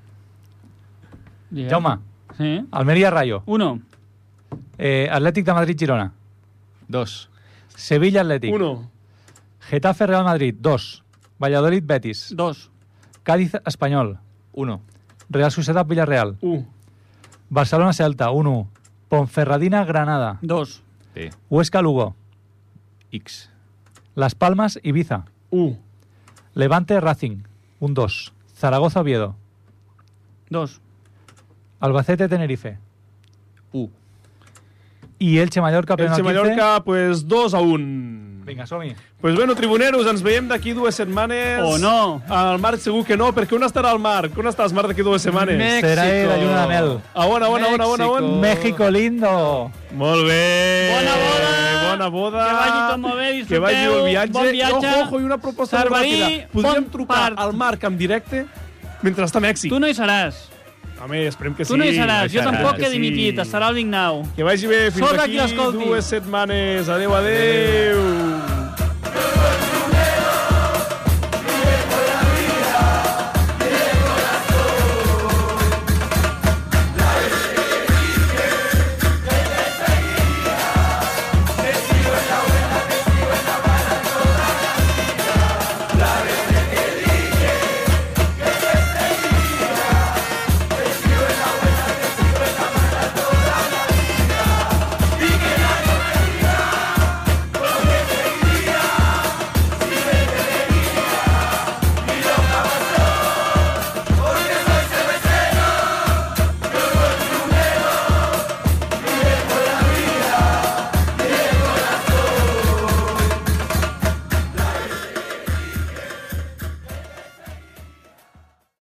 Speaker 3: Digue'm.
Speaker 2: Jaume,
Speaker 3: Sí.
Speaker 2: Almeria Rayo,
Speaker 3: Uno.
Speaker 2: eh, Atlètic de Madrid Girona,
Speaker 4: Dos.
Speaker 2: Sevilla Atlètic,
Speaker 1: Uno,
Speaker 2: Getafe Real Madrid, 2, Valladolid Betis,
Speaker 3: Dos.
Speaker 2: Cádiz Espanyol,
Speaker 4: Uno.
Speaker 2: Real Societat Villarreal,
Speaker 1: u,
Speaker 2: Barcelona Celta, 1 Ponferradina Granada,
Speaker 3: Dos.
Speaker 4: B.
Speaker 2: Huesca Lugo,
Speaker 4: X.
Speaker 2: Las Palmas Ibiza,
Speaker 1: u,
Speaker 2: Levante Racing, un 2, Zaragoza Oviedo,
Speaker 3: Dos.
Speaker 2: Albacete Tenerife
Speaker 4: U.
Speaker 2: i Elche Mallorca, pleno
Speaker 1: Elche
Speaker 2: 15.
Speaker 1: Mallorca, pues 2 a 1.
Speaker 2: Vinga, som-hi.
Speaker 1: Pues bueno, tribuneros, ens veiem d'aquí dues setmanes.
Speaker 3: O no.
Speaker 1: Al Marc segur que no, perquè on estarà el Marc? On estàs, Marc, d'aquí dues setmanes?
Speaker 4: Me- México.
Speaker 2: Serà la lluna de mel.
Speaker 1: A on, a on, a on, a on, a on?
Speaker 4: México.
Speaker 2: México lindo.
Speaker 1: Molt bé.
Speaker 3: Bona boda.
Speaker 1: Bona boda.
Speaker 3: Que vagi tot molt bé, disfruteu.
Speaker 1: Que vagi el viatge.
Speaker 3: Bon
Speaker 1: I
Speaker 3: viatge.
Speaker 1: ojo, ojo, i una proposta
Speaker 3: Sarvarí,
Speaker 1: molt ràpida. Podríem
Speaker 3: bon
Speaker 1: trucar
Speaker 3: part.
Speaker 1: al Marc en directe mentre està a Mèxic.
Speaker 3: Tu no hi seràs.
Speaker 1: Home, esperem que sí.
Speaker 3: Tu no hi seràs. Jo
Speaker 1: Esperem
Speaker 3: tampoc
Speaker 1: que
Speaker 3: he dimitit. Estarà el Vignau.
Speaker 1: Que vagi bé. Fins
Speaker 3: Sorra qui
Speaker 1: d'aquí
Speaker 3: l'escolti.
Speaker 1: dues setmanes. Adéu, adéu. adéu.